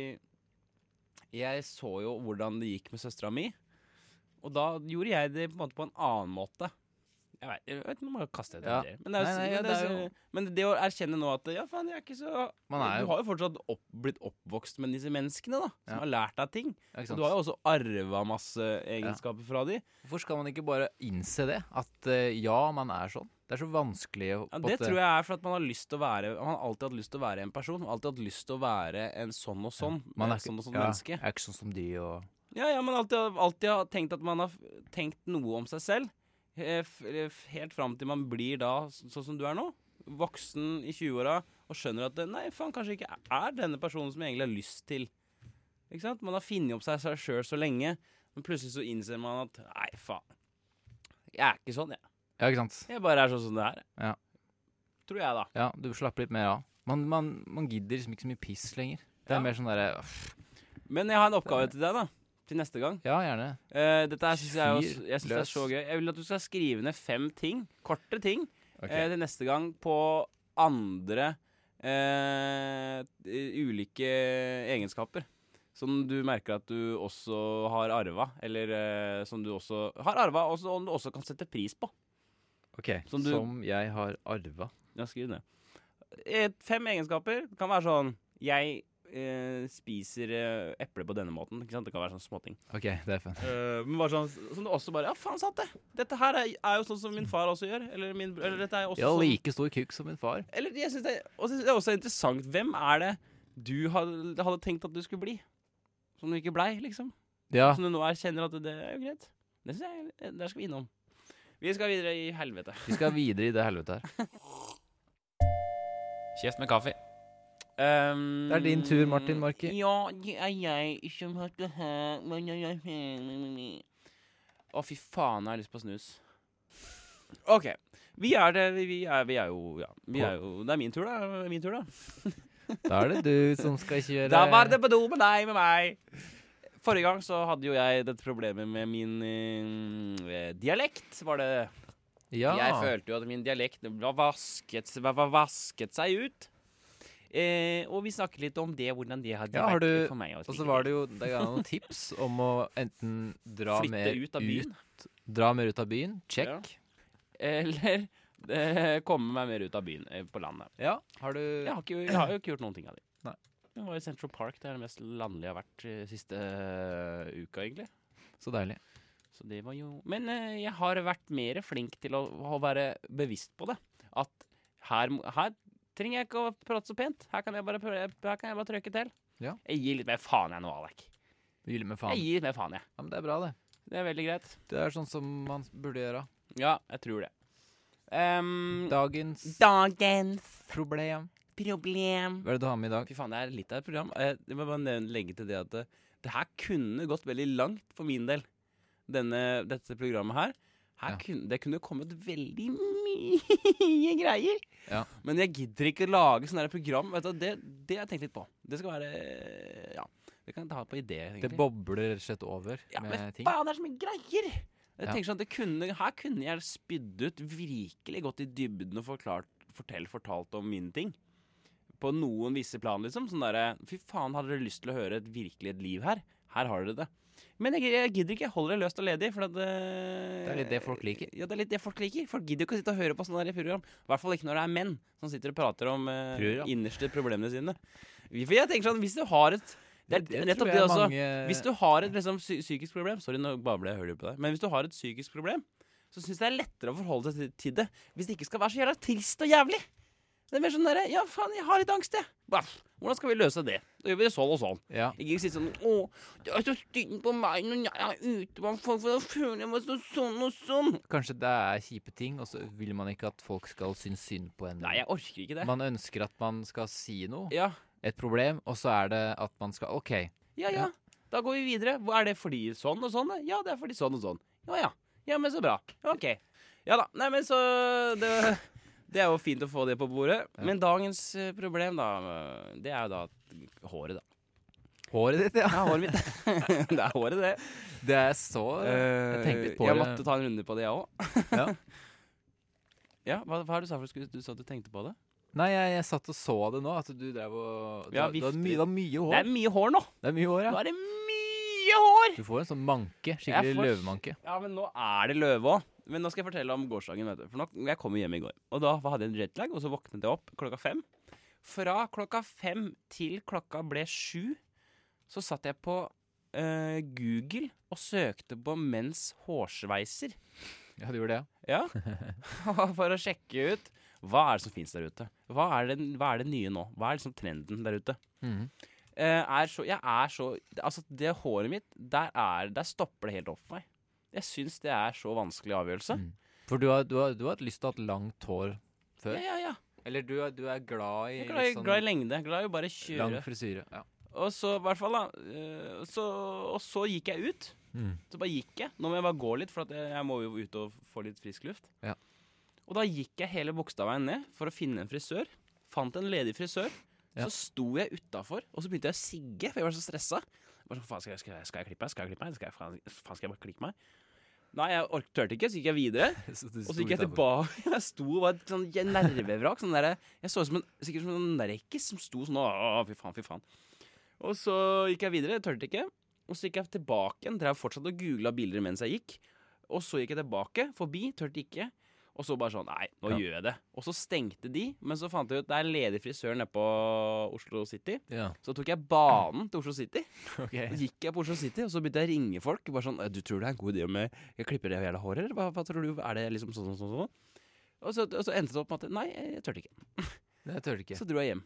Speaker 1: jeg så jo hvordan det gikk med søstera mi. Og da gjorde jeg det på en måte på en annen måte. Jeg vet, jeg vet ikke om jeg har kastet
Speaker 2: Ja.
Speaker 1: det men det, er, jo-
Speaker 2: Nei, nei,
Speaker 1: men, det er,
Speaker 2: ja, det er
Speaker 1: jo- men det å erkjenne nå at Ja, faen, jeg er ikke så
Speaker 2: Man er
Speaker 1: Du
Speaker 2: jo-
Speaker 1: har jo fortsatt opp, blitt oppvokst med disse menneskene, da. Som
Speaker 2: Ja.
Speaker 1: har lært deg ting.
Speaker 2: Ikke
Speaker 1: Og
Speaker 2: sant?
Speaker 1: du har jo også arva masse egenskaper fra de.
Speaker 2: Hvorfor skal man ikke bare innse det? At eh, ja, man er sånn. Det er så vanskelig å
Speaker 1: Ja, det tror jeg er for at man har lyst til å være Man har alltid hatt lyst til å være en person. Alltid hatt lyst til å være en sånn og sånn. eh,
Speaker 2: man er, ikke-
Speaker 1: sånn og sånn
Speaker 2: ja,
Speaker 1: menneske.
Speaker 2: Jeg er ikke sånn som de og
Speaker 1: Ja, ja, men alltid, alltid har tenkt at man har f- tenkt noe om seg selv. eh, f- eh, f- Helt fram til man blir da s- sånn som du er nå. Voksen i 20-åra og skjønner at eh, nei, faen, kanskje ikke er denne personen som jeg egentlig har lyst til. Ikke sant? Man har funnet opp seg seg sjøl så lenge, men plutselig så innser man at nei, faen. Jeg er ikke sånn, jeg.
Speaker 2: Ja, ikke sant?
Speaker 1: Jeg bare er sånn som det er.
Speaker 2: Ja.
Speaker 1: Tror jeg, da.
Speaker 2: Ja, du slapper litt mer av. Man, man, man gidder liksom ikke så mye piss lenger. Det er
Speaker 1: Ja.
Speaker 2: mer sånn derre «Uff,
Speaker 1: Men jeg har en oppgave til deg, da. Til neste gang.
Speaker 2: Ja, gjerne.
Speaker 1: Eh, dette her syns jeg, er jo-
Speaker 2: Fyr
Speaker 1: jeg synes det er
Speaker 2: løs.
Speaker 1: så gøy. Jeg vil at du skal skrive ned fem ting. Korte ting. eh,
Speaker 2: Eh,
Speaker 1: til neste gang på andre eh, ulike egenskaper. Som du merker at du også har arva, eller eh, som du også har arva, og som du også kan sette pris på.
Speaker 2: ok,
Speaker 1: som du-
Speaker 2: Som jeg har arva.
Speaker 1: Ja, skriv det. Eh, Fem egenskaper Det kan være sånn Jeg eh, spiser eh, eple på denne måten. Ikke sant? Det kan være sånn småting.
Speaker 2: Ok, det er fun.
Speaker 1: Eh, men bare sånn Som du også bare Ja, faen sant det! Dette her er, er jo sånn som min far også gjør. Eller, min, br- eller dette er jo også
Speaker 2: Jeg har
Speaker 1: sånn-
Speaker 2: like stor kukk som min far.
Speaker 1: Eller jeg synes det, og så synes jeg også er interessant Hvem er det du hadde, hadde tenkt at du skulle bli? Som du ikke blei, liksom.
Speaker 2: Ja,
Speaker 1: Som du nå erkjenner at det er jo greit. Det synes jeg, Der skal vi innom. Vi skal videre i helvete.
Speaker 2: vi skal videre i det
Speaker 1: <laughs>
Speaker 2: helvete her.
Speaker 1: Kjeft med kaffe. Ehm,
Speaker 2: Det er din tur, Martin Marki.
Speaker 1: Ja, det er jeg som har det her men jeg er her. Å, fy faen, jeg har lyst på snus. OK. Vi er det Vi, vi, er, vi er jo Ja. Vi er jo, det er min tur, da. Det er Min tur, da.
Speaker 2: Da er det du som skal kjøre.
Speaker 1: Da var det på do med deg, med meg. Forrige gang så hadde jo jeg dette problemet med min eh, dialekt, var det.
Speaker 2: Ja.
Speaker 1: Jeg følte jo at min dialekt var vasket, var, var vasket seg ut. Eh, og vi snakket litt om det, hvordan det hadde
Speaker 2: Ja, har
Speaker 1: vært
Speaker 2: du-
Speaker 1: for meg. å
Speaker 2: Og så var det jo det er noen tips om å enten dra
Speaker 1: flytte
Speaker 2: mer
Speaker 1: ut av byen, <laughs>
Speaker 2: dra mer ut av byen. Check.
Speaker 1: eller eh, komme meg mer ut av byen eh, på landet.
Speaker 2: Ja, har du
Speaker 1: Jeg har, ikke, jeg har jo ikke gjort noen ting av det.
Speaker 2: Nei.
Speaker 1: Jeg var i Central Park, det er det mest landlige jeg har vært eh, siste eh, uka, egentlig.
Speaker 2: Så deilig.
Speaker 1: Så det var jo Men eh, jeg har vært mer flink til å, å være bevisst på det. At her, må- her trenger jeg ikke å prate så pent. Her kan jeg bare, prøve, her kan jeg bare trøkke til.
Speaker 2: Ja.
Speaker 1: Jeg gir litt mer faen jeg nå, Alek.
Speaker 2: Hvile med
Speaker 1: Jeg
Speaker 2: faen.
Speaker 1: gir litt mer faen, jeg.
Speaker 2: Ja, men det er bra, det.
Speaker 1: Det er veldig greit.
Speaker 2: Det er sånn som man burde gjøre.
Speaker 1: Ja, jeg tror det. Ehm,
Speaker 2: Dagens
Speaker 1: Dagens
Speaker 2: problem.
Speaker 1: problem.
Speaker 2: Hva er det du har med i dag?
Speaker 1: Fy faen, det er litt av et program. Eh, Jeg må bare nevne- legge til det at det, det her kunne gått veldig langt for min del. Denne, dette programmet her. her
Speaker 2: Ja.
Speaker 1: kunne, det kunne kommet veldig mye <laughs> greier.
Speaker 2: Ja.
Speaker 1: Men jeg gidder ikke å lage sånne her program. Vet du, det, det har jeg tenkt litt på. Det skal være Ja. Det kan jeg ta på idé, egentlig.
Speaker 2: Det bobler rett og slett over
Speaker 1: ja, men
Speaker 2: med ting.
Speaker 1: faen, det er så mye greier! Jeg
Speaker 2: Ja.
Speaker 1: tenker sånn at det kunne, Her kunne jeg spydd ut virkelig gått i dybden og forklart, fortell, fortalt om mine ting. På noen visse plan, liksom. Sånn derre Fy faen, hadde dere lyst til å høre et virkelig et liv her? Her har dere det. Men jeg, jeg gidder ikke. Jeg holder det løst og ledig. For at, eh,
Speaker 2: Det er litt det folk liker.
Speaker 1: Ja, det er litt det folk liker. Folk gidder ikke å sitte og høre på sånne der program. I hvert fall ikke når det er menn som sitter og prater om eh,
Speaker 2: Program.
Speaker 1: innerste problemene sine. Vi- For jeg tenker sånn, hvis du har et Det er nettopp det
Speaker 2: tror jeg
Speaker 1: også.
Speaker 2: mange-
Speaker 1: Hvis du har et liksom, psy psykisk problem Sorry, nå babler jeg hører på deg. Men hvis du har et psykisk problem, så syns jeg det er lettere å forholde seg til- til det. Hvis det ikke skal være så jævla trist og jævlig. Det er mer sånn derre Ja, faen, jeg har litt angst, jeg. Bah, Hvordan skal vi løse det? Da gjør vi det sånn og sånn.
Speaker 2: Ja.
Speaker 1: Ikke si sånn Å, det er så synd på meg når jeg er ute blant folk, for da føler jeg meg så sånn og sånn.
Speaker 2: Kanskje det er kjipe ting, og så vil man ikke at folk skal synes synd på en.
Speaker 1: Nei, jeg orker ikke det.
Speaker 2: Man ønsker at man skal si noe,
Speaker 1: Ja,
Speaker 2: et problem, og så er det at man skal OK.
Speaker 1: ja, ja. Da går vi videre. Hva Er det fordi sånn og sånn? da? Ja, det er fordi sånn og sånn. Ja, ja. Ja, men så bra. Ok. Ja da. Nei, men så Det, det er jo fint å få det på bordet. Men dagens eh, problem, da, eh, det er jo da håret, da.
Speaker 2: Håret ditt, <laughs> ja.
Speaker 1: Ja, håret mitt. <laughs> det er håret, det. Eh,
Speaker 2: Det er så eh, Jeg tenkte litt på
Speaker 1: jeg
Speaker 2: det.
Speaker 1: måtte ta en runde på det, jeg òg.
Speaker 2: Ja.
Speaker 1: ja, hva, hva er det du sa for du skulle- du sa at du tenkte på det?
Speaker 2: Nei, jeg, jeg satt og så det nå, at du drev og
Speaker 1: Ja,
Speaker 2: du, har- du har
Speaker 1: vifter.
Speaker 2: mye, du har mye
Speaker 1: Det
Speaker 2: hår.
Speaker 1: er mye hår nå!
Speaker 2: Det er mye hår,
Speaker 1: Nå
Speaker 2: ja.
Speaker 1: er det mye hår!
Speaker 2: Du får en sånn manke. Skikkelig
Speaker 1: får-
Speaker 2: løvemanke.
Speaker 1: Ja, men nå er det løve òg. Men nå skal jeg fortelle om gårsdagen. Vet du. For nå, jeg kom jo hjem i går. Og da hadde jeg en jetlag, og så våknet jeg opp klokka fem. Fra klokka fem til klokka ble sju, så satt jeg på eh, Google og søkte på menns hårsveiser.
Speaker 2: Ja, du gjorde det, ja.
Speaker 1: Ja. <laughs> For å sjekke ut hva er det som fins der ute. Hva er, det, hva er det nye nå? Hva er liksom trenden der ute?
Speaker 2: Mhm.
Speaker 1: Eh, er så, jeg er så Altså, det håret mitt, der, er, der stopper det helt opp for meg. Jeg syns det er så vanskelig avgjørelse.
Speaker 2: Mm. For du har, du, har, du har hatt lyst til å ha et langt hår
Speaker 1: Ja,
Speaker 2: før?
Speaker 1: ja, ja.
Speaker 2: Eller du, er- du er glad i
Speaker 1: Jeg er glad, i-
Speaker 2: litt sånn
Speaker 1: glad i lengde. Glad i å bare
Speaker 2: lang
Speaker 1: kjøre.
Speaker 2: frisyre? Ja. <laughs>
Speaker 1: Og så, i hvert fall, da. eh, Så, og så gikk jeg ut.
Speaker 2: Mm.
Speaker 1: Så bare gikk jeg. Nå må jeg bare gå litt, for at jeg, jeg må jo ut og få litt frisk luft.
Speaker 2: Ja.
Speaker 1: Og da gikk jeg hele Bogstadveien ned for å finne en frisør. Fant en ledig frisør.
Speaker 2: Ja.
Speaker 1: Så sto jeg utafor, og så begynte jeg å sigge, for jeg var så stressa. Jeg var sånn, faen, skal, jeg- skal, jeg- skal jeg klippe meg? Skal jeg klippe meg? Skal jeg, faen, faen, skal jeg bare klippe meg? Nei, jeg ork- turte ikke, så gikk jeg videre.
Speaker 2: Så du
Speaker 1: Og
Speaker 2: sto
Speaker 1: så gikk jeg
Speaker 2: utenfor.
Speaker 1: tilbake. <laughs> Jeg sto og var et sånn jeg- nervevrak. Sånn der, jeg så ut som en, sikkert som en nerkis som sto sånn Å, fy faen, fy faen. Og så gikk jeg videre. Jeg turte ikke. Og så gikk jeg tilbake igjen. Drev fortsatt og googla bilder mens jeg gikk. Og så gikk jeg tilbake. Forbi. Turte ikke. Og så bare sånn Nei, nå
Speaker 2: Ja.
Speaker 1: gjør jeg det. Og så stengte de. Men så fant jeg ut det er ledig frisør nede på Oslo City.
Speaker 2: Ja,
Speaker 1: Så tok jeg banen til Oslo City.
Speaker 2: <laughs>
Speaker 1: Så
Speaker 2: ok.
Speaker 1: gikk jeg på Oslo City, og så begynte jeg å ringe folk. Bare sånn, du tror det er en god idé om jeg, jeg klipper det jævla håret, eller hva, hva tror du? Er det liksom sånn, sånn, sånn? sånn? Og så, og så endte det opp med at nei, jeg tørte ikke.
Speaker 2: Jeg tørte ikke.
Speaker 1: Så dro jeg hjem.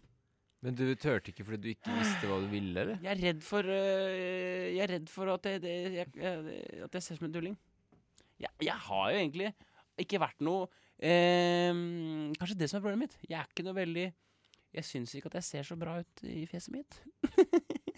Speaker 2: Men du turte ikke fordi du ikke visste hva du ville, eller?
Speaker 1: Jeg er redd for, øh, jeg er redd for at, jeg, det, jeg, jeg, at jeg ser ut som en tulling. Jeg, jeg har jo egentlig ikke vært noe eh, Kanskje det som er problemet mitt. Jeg er ikke noe veldig Jeg syns ikke at jeg ser så bra ut i fjeset mitt.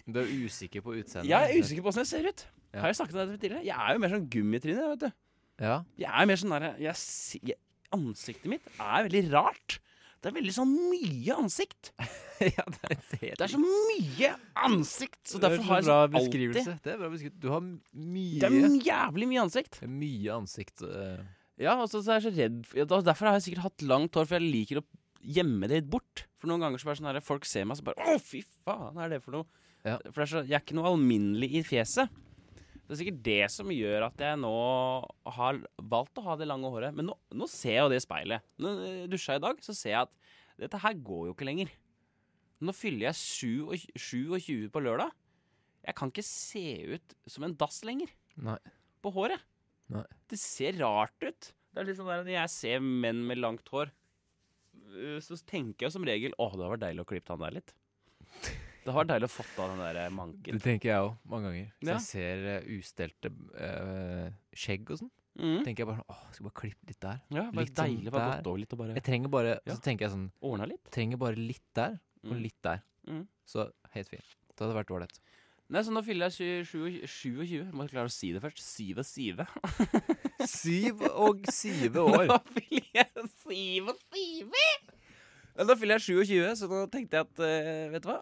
Speaker 2: Du er usikker på utseendet?
Speaker 1: Jeg er usikker på åssen jeg ser ut.
Speaker 2: Ja.
Speaker 1: Har jeg snakket om det tidligere? Jeg er jo mer sånn gummitryne, vet du.
Speaker 2: Ja.
Speaker 1: Jeg er mer sånn der jeg, si- jeg, Ansiktet mitt er veldig rart. Det er veldig sånn mye ansikt.
Speaker 2: <laughs> ja, det er
Speaker 1: Det er så mye ansikt! Så derfor har jeg
Speaker 2: bra
Speaker 1: sånn
Speaker 2: beskrivelse. Det er bra beskrivelse. Du har m-
Speaker 1: Alltid, det
Speaker 2: mye
Speaker 1: er jævlig mye ansikt.
Speaker 2: det er mye ansikt. eh.
Speaker 1: Ja, og så, så er jeg så redd for- ja, da- Derfor har jeg sikkert hatt langt hår, for jeg liker å gjemme det litt bort. For noen ganger så bare sånn her, folk ser meg så bare Å, fy faen, er det for noe?
Speaker 2: Ja.
Speaker 1: For det er så, jeg er ikke noe alminnelig i fjeset. Det er sikkert det som gjør at jeg nå har valgt å ha det lange håret. Men nå, nå ser jeg jo det i speilet. Når jeg dusja i dag, så ser jeg at dette her går jo ikke lenger. Nå fyller jeg 27 27 på lørdag. Jeg kan ikke se ut som en dass lenger
Speaker 2: Nei.
Speaker 1: på håret.
Speaker 2: Nei.
Speaker 1: Det ser rart ut. Det er litt sånn der, Når jeg ser menn med langt hår, øh, så tenker jeg som regel Å, det hadde vært deilig å klippe han der litt. Det har vært deilig å fått av den der eh, manken.
Speaker 2: Det tenker jeg òg, mange ganger. Hvis
Speaker 1: Ja.
Speaker 2: jeg ser eh, ustelte eh, skjegg og sånn,
Speaker 1: Mm.
Speaker 2: tenker jeg bare sånn Åh, skal bare klippe litt der.
Speaker 1: Ja, bare
Speaker 2: Litt sånn
Speaker 1: deilig bare
Speaker 2: der.
Speaker 1: gått over litt og bare
Speaker 2: Jeg trenger bare
Speaker 1: Ja.
Speaker 2: Så tenker jeg sånn
Speaker 1: ordna litt.
Speaker 2: Trenger bare litt der og
Speaker 1: Mm.
Speaker 2: litt der.
Speaker 1: Mm.
Speaker 2: Så helt fint. Det hadde vært ålreit.
Speaker 1: Nei, så nå fyller jeg 27. 27. Må jeg klare å si det først. 27.
Speaker 2: <laughs> <laughs> Syv og syve år.
Speaker 1: Nå
Speaker 2: <laughs>
Speaker 1: fyller jeg 27! Ja, Nå fyller jeg 27, så nå tenkte jeg at øh, Vet du hva?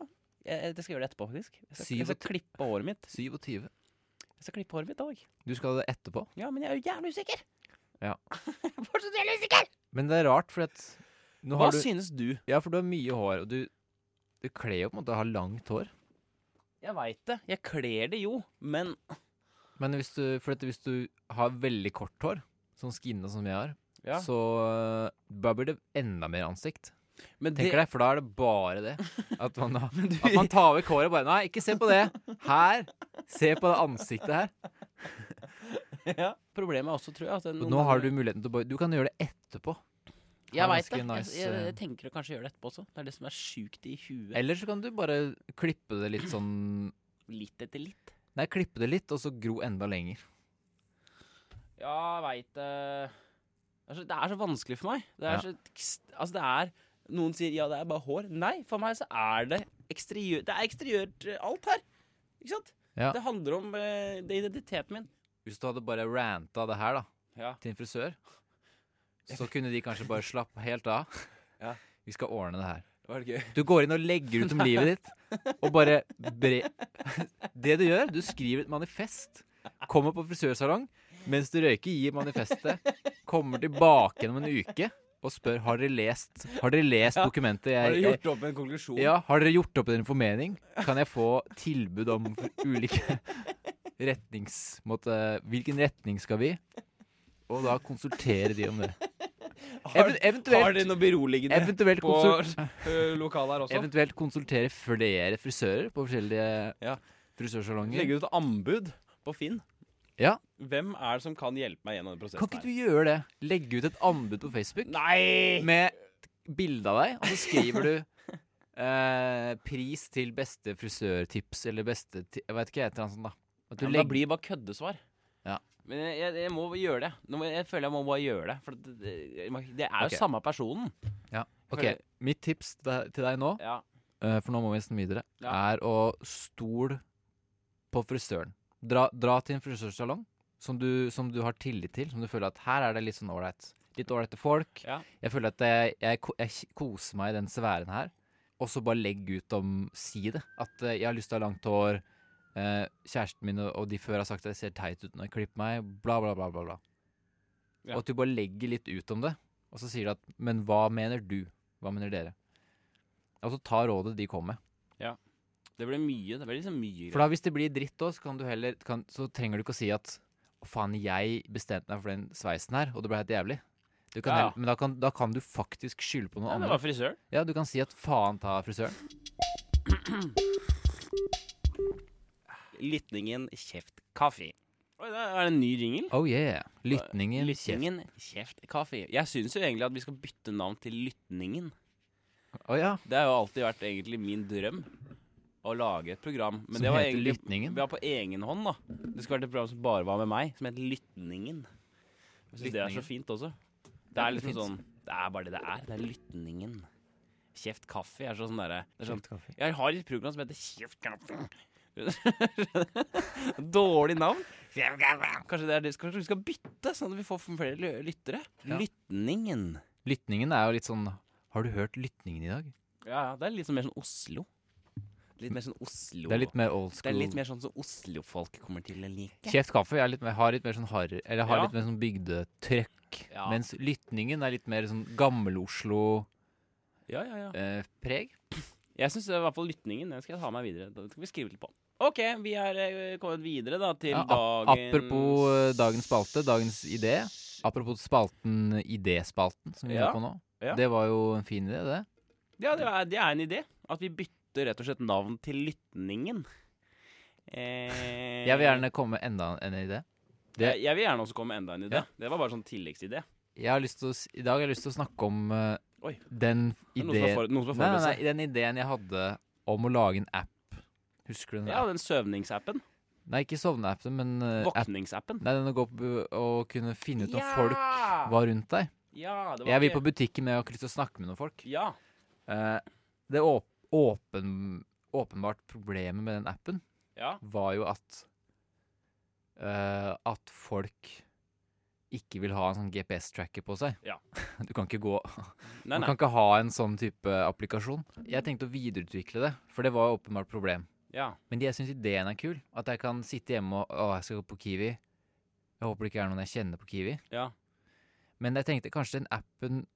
Speaker 1: Jeg, jeg skal gjøre det etterpå, faktisk. Jeg skal, jeg skal klippe håret mitt.
Speaker 2: 27.
Speaker 1: Jeg skal klippe håret mitt i dag.
Speaker 2: Du skal ha det etterpå.
Speaker 1: Ja, men jeg er jo jævlig usikker.
Speaker 2: Ja.
Speaker 1: <laughs> Fortsatt jævlig usikker.
Speaker 2: Men det er rart, for at nå
Speaker 1: Hva
Speaker 2: har du,
Speaker 1: synes du?
Speaker 2: Ja, for du har mye hår, og du, du kler jo på en måte å ha langt hår.
Speaker 1: Jeg veit det. Jeg kler det jo, men
Speaker 2: Men hvis du, for at hvis du har veldig kort hår, sånn skinna som jeg har,
Speaker 1: Ja.
Speaker 2: så øh, da blir det enda mer ansikt.
Speaker 1: men det,
Speaker 2: Tenker deg, for da er det bare det. At man,
Speaker 1: <laughs>
Speaker 2: har- at man tar vekk håret og bare Nei, ikke se på det! Her! Se på det ansiktet her.
Speaker 1: ja. Problemet er også, tror jeg at
Speaker 2: Og nå har du muligheten til å bare Du kan gjøre det etterpå.
Speaker 1: Jeg veit det.
Speaker 2: ganske nice,
Speaker 1: jeg, jeg,
Speaker 2: eh,
Speaker 1: jeg tenker å kanskje gjøre det etterpå også. Det er det som er sjukt i huet.
Speaker 2: Eller så kan du bare klippe det litt sånn
Speaker 1: Litt etter litt.
Speaker 2: Nei, klippe det litt, og så gro enda lenger.
Speaker 1: Ja, jeg veit det. Altså, det er så vanskelig for meg. Det er
Speaker 2: Ja.
Speaker 1: så ekst- Altså, det er Noen sier ja, det er bare hår. Nei, for meg så er det eksteriør Det er eksteriørt eh, alt her. Ikke sant?
Speaker 2: Ja.
Speaker 1: Det handler om eh, det er identiteten min.
Speaker 2: Hvis du hadde bare ranta det her, da.
Speaker 1: Ja.
Speaker 2: til en frisør,
Speaker 1: <laughs>
Speaker 2: så kunne de kanskje bare slappe helt av.
Speaker 1: Ja.
Speaker 2: Vi skal ordne det her.
Speaker 1: Det var gøy.
Speaker 2: Du går inn og legger ut om livet ditt, og bare bre... <laughs> Det du gjør, du skriver et manifest. Kommer på frisørsalong mens du røyker, gir manifestet. Kommer tilbake igjen om en uke og spør har dere lest Har dere lest dokumentet. Jeg,
Speaker 1: Har du
Speaker 2: jeg-
Speaker 1: gjort opp en konklusjon?
Speaker 2: ja, har dere gjort opp dere for mening? Kan jeg få tilbud om f- ulike retnings... Måte, hvilken retning skal vi? og da konsultere de om det.
Speaker 1: Har,
Speaker 2: Even-
Speaker 1: har dere
Speaker 2: eventuelt,
Speaker 1: noe beroligende
Speaker 2: eventuelt,
Speaker 1: på
Speaker 2: konsul,
Speaker 1: <laughs> ø, lokalet her også?
Speaker 2: eventuelt konsultere flere frisører på forskjellige
Speaker 1: Ja.
Speaker 2: frisørsalonger.
Speaker 1: Legger ut anbud på Finn.
Speaker 2: Ja.
Speaker 1: Hvem er det som kan hjelpe meg gjennom den prosessen?
Speaker 2: Kan ikke du gjøre det? Legge ut et anbud på Facebook
Speaker 1: Nei!
Speaker 2: med bilde av deg, og så skriver du eh, pris til beste frisørtips eller beste ti Jeg vet ikke, jeg heter han sånn, da. At du
Speaker 1: Ja, men Da
Speaker 2: legger,
Speaker 1: blir det bare køddesvar.
Speaker 2: Ja.
Speaker 1: Men jeg, jeg, jeg må gjøre det. Nå må, jeg føler jeg må bare gjøre det. For det, det, jeg må- det er jo
Speaker 2: Ok.
Speaker 1: samme personen.
Speaker 2: ok, mitt tips til deg- til deg nå,
Speaker 1: Ja.
Speaker 2: eh, for nå må vi nesten videre,
Speaker 1: Ja.
Speaker 2: er å stole på frisøren. Dra, dra til en frisørsalong som du, som du har tillit til, som du føler at her er det litt sånn ålreit. Litt ålreite folk.
Speaker 1: Ja.
Speaker 2: Jeg føler at jeg, jeg, ko- jeg k- koser meg i den sfæren her. Og så bare legg ut om Si det. At eh, jeg har lyst til å ha langt hår. eh, kjæresten min og, og de før har sagt at jeg ser teit ut når jeg klipper meg. Bla, bla, bla. bla, bla.
Speaker 1: Ja.
Speaker 2: Og at du bare legger litt ut om det. Og så sier du at Men hva mener du? Hva mener dere? Og så ta rådet de kom med.
Speaker 1: Det blir mye. Det blir liksom mye
Speaker 2: For da hvis det blir dritt òg, så, kan du heller- kan- så trenger du ikke å si at Å faen, jeg bestemte meg for den sveisen her, og det ble helt jævlig. Du kan
Speaker 1: Ja, ja.
Speaker 2: heller- Men da kan, da kan du faktisk skylde på noen
Speaker 1: Nei,
Speaker 2: andre.
Speaker 1: det var frisøren.
Speaker 2: Ja, du kan si at faen ta frisøren.
Speaker 1: Lytningen kjeft kaffe. Oi, det er det en ny jingle?
Speaker 2: Oh yeah. Lytningen, kjeft.
Speaker 1: Lytningen kjeft kaffe. Jeg syns jo egentlig at vi skal bytte navn til Lytningen.
Speaker 2: Å ja.
Speaker 1: Det har jo alltid vært egentlig min drøm. Å lage et program. Men
Speaker 2: Som
Speaker 1: det var
Speaker 2: heter
Speaker 1: egentlig
Speaker 2: Lytningen?
Speaker 1: Vi var på egen hånd, da. Det skulle vært et program som bare var med meg, som het Lytningen. Jeg syns det er
Speaker 2: Lytningen.
Speaker 1: så fint også. Det
Speaker 2: Ja,
Speaker 1: er
Speaker 2: det
Speaker 1: liksom
Speaker 2: er
Speaker 1: sånn Det er bare det det er. Det er Lytningen. Kjeft kaffe er sånn derre det er sånn, Jeg har et program som heter Kjeft kaffe. <laughs> Dårlig navn. Kjeft kaffe. Kanskje, det er det, kanskje vi skal bytte, sånn at vi får flere lø- lyttere.
Speaker 2: Ja.
Speaker 1: Lytningen.
Speaker 2: Lytningen er jo litt sånn Har du hørt lytningen i dag?
Speaker 1: Ja, ja, det er litt sånn mer sånn Oslo. Litt mer sånn Oslo.
Speaker 2: Det er litt mer old
Speaker 1: Det
Speaker 2: school.
Speaker 1: er litt mer sånn som Oslo-folk kommer til å like.
Speaker 2: Kjeft kaffe er litt mer, har litt mer sånn harry Eller har
Speaker 1: Ja.
Speaker 2: litt mer sånn bygdetrøkk.
Speaker 1: Ja.
Speaker 2: Mens lytningen er litt mer sånn eh, gammel-Oslo-preg.
Speaker 1: Ja, ja, ja. Jeg syns i hvert fall lytningen den skal jeg ta meg videre. Den skal vi skrive litt på. OK, vi er eh, kommet videre da til
Speaker 2: Ja, ap-
Speaker 1: dagens
Speaker 2: apropos eh, dagens spalte, dagens idé. Apropos spalten Idéspalten, som vi
Speaker 1: Ja.
Speaker 2: har på nå.
Speaker 1: Ja.
Speaker 2: Det var jo en fin idé, det.
Speaker 1: Ja, det er, det er en idé. At vi bytter rett og slett navn til Lytningen. Eh,
Speaker 2: Jeg vil gjerne komme med enda en idé. det-
Speaker 1: Jeg, jeg vil gjerne også komme med enda en idé.
Speaker 2: Ja.
Speaker 1: Det var bare sånn tilleggsidé.
Speaker 2: Jeg har lyst til å, s- I dag har jeg lyst til å snakke om eh,
Speaker 1: Oi.
Speaker 2: den
Speaker 1: Det er Noen som
Speaker 2: ideen
Speaker 1: har for- noen som har
Speaker 2: Nei, nei,
Speaker 1: forberedt
Speaker 2: nei, den ideen jeg hadde om å lage en app. Husker du
Speaker 1: seg.
Speaker 2: den?
Speaker 1: Ja,
Speaker 2: appen?
Speaker 1: den søvningsappen.
Speaker 2: Nei, ikke sovneappen, men eh, app.
Speaker 1: Våkningsappen.
Speaker 2: Nei, den å gå på og kunne finne ut om folk
Speaker 1: Ja!
Speaker 2: var rundt deg.
Speaker 1: Ja, det var
Speaker 2: Jeg vil
Speaker 1: ikke-
Speaker 2: på butikken, men jeg har ikke lyst til å snakke med noen folk.
Speaker 1: Ja.
Speaker 2: Eh, det åp åpen åpenbart problemet med den appen
Speaker 1: ja.
Speaker 2: var jo at eh, At folk ikke vil ha en sånn GPS-tracker på seg.
Speaker 1: Ja.
Speaker 2: <laughs> Du kan ikke gå
Speaker 1: Nei,
Speaker 2: Man
Speaker 1: nei.
Speaker 2: kan ikke ha en sånn type applikasjon. Jeg tenkte å videreutvikle det, for det var jo åpenbart problem.
Speaker 1: Ja.
Speaker 2: Men jeg syns ideen er kul. At jeg kan sitte hjemme og Å, jeg skal gå på Kiwi. Jeg håper det ikke er noen jeg kjenner på Kiwi.
Speaker 1: Ja.
Speaker 2: Men jeg tenkte kanskje den appen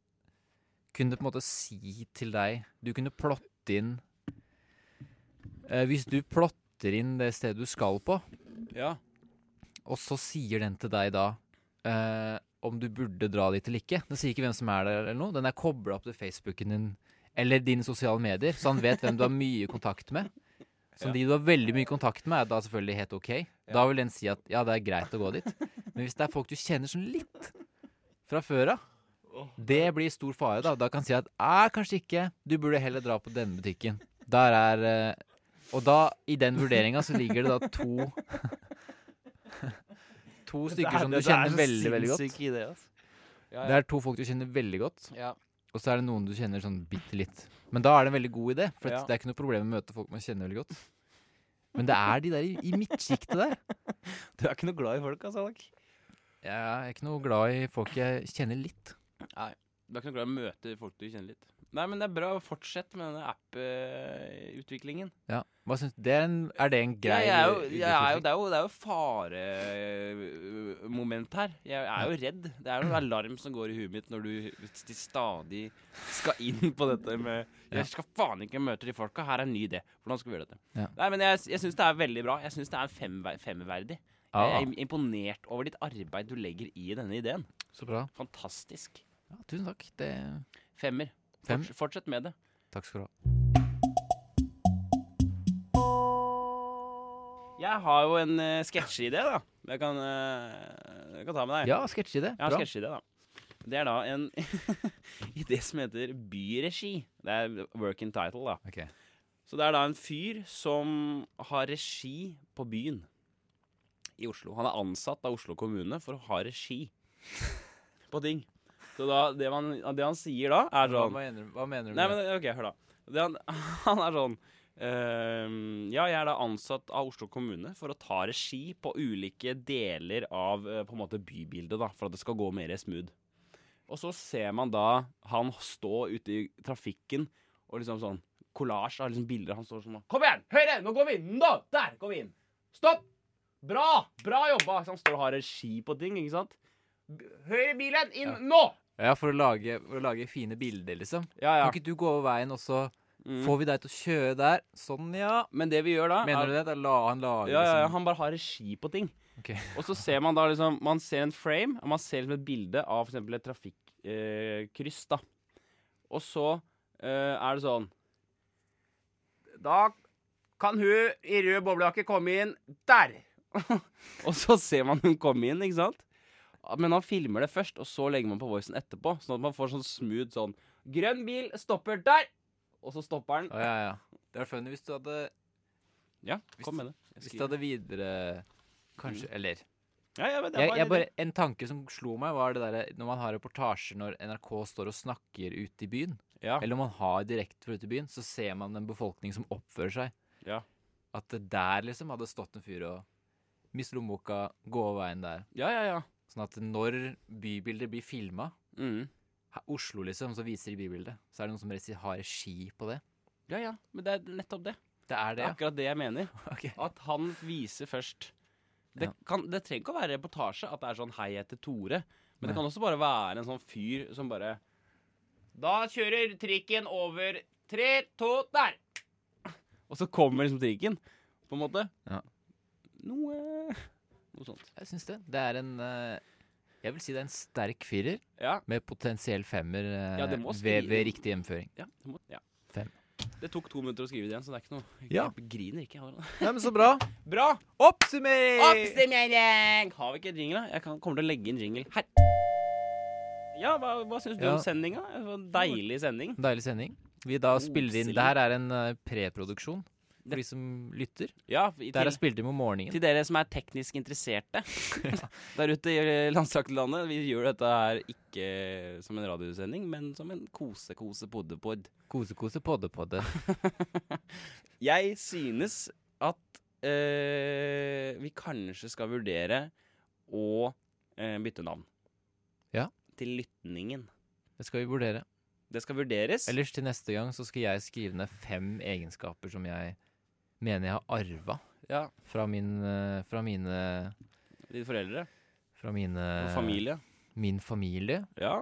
Speaker 2: kunne på en måte si til deg Du kunne plotte inn eh, Hvis du plotter inn det stedet du skal på,
Speaker 1: ja.
Speaker 2: og så sier den til deg da eh, om du burde dra dit eller ikke. Den sier ikke hvem som er der eller noe. Den er kobla opp til Facebooken din eller dine sosiale medier, så han vet hvem du har mye kontakt med. Så
Speaker 1: Ja.
Speaker 2: de du har veldig mye kontakt med, er da selvfølgelig helt ok. Da vil den si at ja, det er greit å gå dit. Men hvis det er folk du kjenner sånn litt fra før av, det blir stor fare, da. Da kan si at æ, kanskje ikke, du burde heller dra på denne butikken. Der er eh, Og da, i den vurderinga, så ligger det da to To stykker som du kjenner veldig, veldig godt.
Speaker 1: Idé, altså. Ja,
Speaker 2: Det er to folk du kjenner veldig godt,
Speaker 1: ja.
Speaker 2: og så er det noen du kjenner sånn bitte litt. Men da er det en veldig god idé, for at
Speaker 1: Ja.
Speaker 2: det er ikke noe problem med å møte folk man kjenner veldig godt. Men det er de der i, i midtsjiktet der.
Speaker 1: Du er ikke noe glad i folk, altså, Alek?
Speaker 2: Jeg er ikke noe glad i folk jeg kjenner litt.
Speaker 1: Du er ikke noe glad i å møte folk du kjenner litt. Nei, men det er bra. Fortsett med eh, denne app-utviklingen.
Speaker 2: Ja. Hva syns det er, en, er det en grei
Speaker 1: jeg er jo, jeg er jo,
Speaker 2: utvikling?
Speaker 1: det er jo, det er jo faremoment her. Jeg er jo redd. Det er jo en alarm som går i huet mitt når du st- stadig skal inn på dette med
Speaker 2: Ja.
Speaker 1: Jeg skal faen ikke møte de folka. Her er en ny idé. Hvordan skal vi gjøre dette?
Speaker 2: Ja.
Speaker 1: Nei, men jeg, jeg syns det er veldig bra. Jeg syns det er en femver- femmerverdig Jeg
Speaker 2: Ah,
Speaker 1: er imponert over ditt arbeid du legger i denne ideen.
Speaker 2: så bra.
Speaker 1: Fantastisk.
Speaker 2: Ja, tusen takk. Det,
Speaker 1: Femmer.
Speaker 2: Fem.
Speaker 1: Forts- Fortsett med det.
Speaker 2: takk skal du ha.
Speaker 1: Jeg har jo en uh, sketsjeidé, da. Jeg kan, eh, jeg kan ta med deg.
Speaker 2: Ja, sketsjeidé.
Speaker 1: Jeg har
Speaker 2: Bra.
Speaker 1: en sketsjeidé, da. Det er da en <laughs> idé som heter Byregi. Det er working title, da.
Speaker 2: Ok.
Speaker 1: Så det er da en fyr som har regi på byen i Oslo. Han er ansatt av Oslo kommune for å ha regi på ting. Så da, det, man, det han sier da, er
Speaker 2: Hva
Speaker 1: sånn
Speaker 2: mener, du- hva mener du
Speaker 1: Nei,
Speaker 2: med
Speaker 1: men ok, hør da. Det han, <laughs> han er sånn ehm, Ja, jeg er da ansatt av Oslo kommune for å ta regi på ulike deler av eh, på en måte bybildet, da, for at det skal gå mer smooth. Og så ser man da han stå ute i trafikken og liksom sånn Collage av liksom bilder. Han står sånn og, Kom igjen! Høyre! Nå går vi inn! Nå! Der går vi inn! Stopp! Bra! Bra jobba! Så han står og har regi på ting, ikke sant? B- Høyre i bilen! Inn
Speaker 2: Ja.
Speaker 1: nå!
Speaker 2: Ja, for å, lage, for å lage fine bilder, liksom.
Speaker 1: Ja, ja.
Speaker 2: Kan ikke du gå over veien, og så
Speaker 1: Mm.
Speaker 2: får vi deg til å kjøre der? Sånn, ja.
Speaker 1: Men det vi gjør da er-
Speaker 2: Mener du det? Da la han lage
Speaker 1: Ja, ja, ja,
Speaker 2: liksom.
Speaker 1: han bare har regi på ting.
Speaker 2: Ok.
Speaker 1: <laughs> Og så ser man da liksom Man ser en frame, og man ser liksom et bilde av f.eks. et trafikkryss, eh, kryss, da. Og så eh, er det sånn Da kan hun i rød boblejakke komme inn der! <laughs> og så ser man hun komme inn, ikke sant? Men han filmer det først, og så legger man på voicen etterpå. Sånn at man får sånn smooth sånn Grønn bil stopper der! Og så stopper den.
Speaker 2: Å, ja, ja. Det er funny hvis du hadde,
Speaker 1: Ja, kom med det. Jeg
Speaker 2: hvis du
Speaker 1: skriver.
Speaker 2: hadde videre Kanskje, eller
Speaker 1: Ja, ja, men det er bare
Speaker 2: jeg, jeg
Speaker 1: en idé.
Speaker 2: bare, En tanke som slo meg, var det derre når man har reportasjer når NRK står og snakker ute i byen,
Speaker 1: ja.
Speaker 2: eller om man har direkte fra ute i byen, så ser man en befolkning som oppfører seg.
Speaker 1: Ja.
Speaker 2: At det der liksom hadde stått en fyr og mist lommeboka, gå over veien der.
Speaker 1: ja, ja, ja.
Speaker 2: Sånn at når bybilder blir filma,
Speaker 1: Mm.
Speaker 2: Oslo liksom, så viser de bybildet, så er det noen som resi- har regi på det.
Speaker 1: Ja, ja, men det er nettopp det.
Speaker 2: Det er
Speaker 1: Det
Speaker 2: det,
Speaker 1: er akkurat det jeg mener.
Speaker 2: ja. Ok.
Speaker 1: At han viser først Det,
Speaker 2: Ja.
Speaker 1: kan, det trenger ikke å være reportasje at det er sånn 'hei, jeg heter Tore', men det
Speaker 2: Nei.
Speaker 1: kan også bare være en sånn fyr som bare Da kjører trikken over tre, to, der! Og så kommer liksom trikken, på en måte.
Speaker 2: Ja.
Speaker 1: Noe Noe sånt.
Speaker 2: Jeg syns det. Det er en eh, Jeg vil si det er en sterk firer
Speaker 1: Ja.
Speaker 2: med potensiell femmer eh,
Speaker 1: Ja, det må
Speaker 2: ved,
Speaker 1: skrive-
Speaker 2: ved riktig hjemføring.
Speaker 1: ja, det må, ja.
Speaker 2: Fem.
Speaker 1: Det tok to minutter å skrive det igjen, så det er ikke noe Jeg
Speaker 2: Ja.
Speaker 1: griner ikke. Jeg har
Speaker 2: Nei, men Så bra.
Speaker 1: Bra!
Speaker 2: Oppsummering!
Speaker 1: Oppsummering! Har vi ikke jingle, da? Jeg kan, kommer til å legge inn jingle her. Ja, hva, hva syns du
Speaker 2: Ja.
Speaker 1: om sendinga? Det var en Deilig sending.
Speaker 2: Deilig sending. Vi da spiller inn
Speaker 1: Koselig.
Speaker 2: Det her er en eh, preproduksjon
Speaker 1: Det-
Speaker 2: for de som lytter.
Speaker 1: Ja, i
Speaker 2: Det her
Speaker 1: til,
Speaker 2: er spilt inn om morgenen.
Speaker 1: til dere som er teknisk
Speaker 2: <laughs>
Speaker 1: interesserte <laughs> der ute i landstrakte landet. Vi gjør dette her ikke som en radiosending, men som en kose-kose-podepod.
Speaker 2: Kose-kose,
Speaker 1: <laughs>
Speaker 2: podde-podde.
Speaker 1: Jeg synes at eh, vi kanskje skal vurdere å eh, bytte navn.
Speaker 2: Ja.
Speaker 1: Til Lytningen.
Speaker 2: Det skal vi vurdere.
Speaker 1: Det skal vurderes.
Speaker 2: Ellers til neste gang så skal jeg skrive ned fem egenskaper som jeg mener jeg har arva
Speaker 1: ja,
Speaker 2: fra, min, eh, fra mine
Speaker 1: dine foreldre
Speaker 2: Fra mine
Speaker 1: og familie.
Speaker 2: Min familie.
Speaker 1: Ja.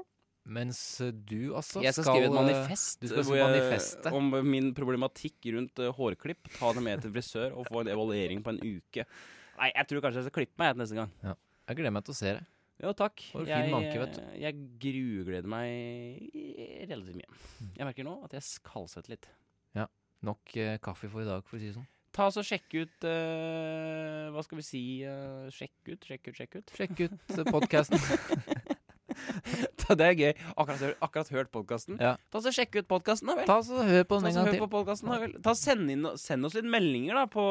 Speaker 2: Mens eh, du altså
Speaker 1: Jeg skal, skrive et
Speaker 2: eh,
Speaker 1: manifest,
Speaker 2: du skal
Speaker 1: hvor
Speaker 2: skrive
Speaker 1: jeg-
Speaker 2: manifestet.
Speaker 1: om min problematikk rundt eh, hårklipp. Ta det med til frisør og få en evaluering på en uke. Nei, jeg tror kanskje jeg skal klippe meg jeg, til neste gang.
Speaker 2: Jeg gleder meg til å se det.
Speaker 1: Jo, takk.
Speaker 2: Du har fin
Speaker 1: jeg,
Speaker 2: manke, vet
Speaker 1: eh, jeg grugleder meg relativt mye. Jeg merker nå at jeg kaldsetter litt.
Speaker 2: Nok eh, kaffe for i dag, for å si det sånn.
Speaker 1: Ta oss og Sjekk ut eh, Hva skal vi si? eh, sjekk ut, sjekk ut, sjekk ut. <laughs> eh,
Speaker 2: Sjekk ut podkasten.
Speaker 1: det er gøy. Akkurat, hør- akkurat hørt podkasten.
Speaker 2: Ja.
Speaker 1: Ta oss og Sjekk ut podkasten, da vel.
Speaker 2: <laughs> Ta så Hør på
Speaker 1: Ta
Speaker 2: den en
Speaker 1: så
Speaker 2: gang
Speaker 1: Sånn hør
Speaker 2: til.
Speaker 1: på podcasten, da vel. Ta send, inn, send oss litt meldinger, da. På,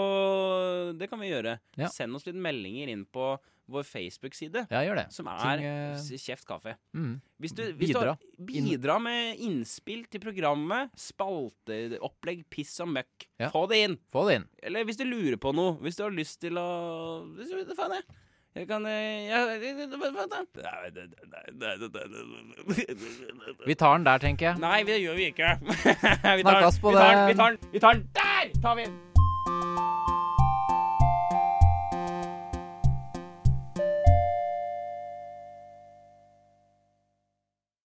Speaker 1: det kan vi gjøre.
Speaker 2: Ja.
Speaker 1: Send oss litt meldinger inn på vår Facebook-side,
Speaker 2: Ja, gjør det.
Speaker 1: som
Speaker 2: Ting,
Speaker 1: er
Speaker 2: eh,
Speaker 1: s- Kjeft kaffe.
Speaker 2: Mm.
Speaker 1: Hvis du, hvis
Speaker 2: Bidra.
Speaker 1: Du, bidra med innspill til programmet. Spalteopplegg, piss og møkk.
Speaker 2: Ja.
Speaker 1: Få det inn!
Speaker 2: Få det inn.
Speaker 1: Eller hvis du lurer på noe. Hvis du har lyst til å Hvis du, faen, jeg. Jeg kan eh, jeg, Vent, da. Nei, det- det- det- det- det- det- det-
Speaker 2: Vi tar den der, tenker jeg.
Speaker 1: Nei, det gjør vi ikke. <laughs> vi, tar,
Speaker 2: Snakkes på
Speaker 1: vi, tar,
Speaker 2: den.
Speaker 1: vi tar den. Vi tar den der! Tar vi den.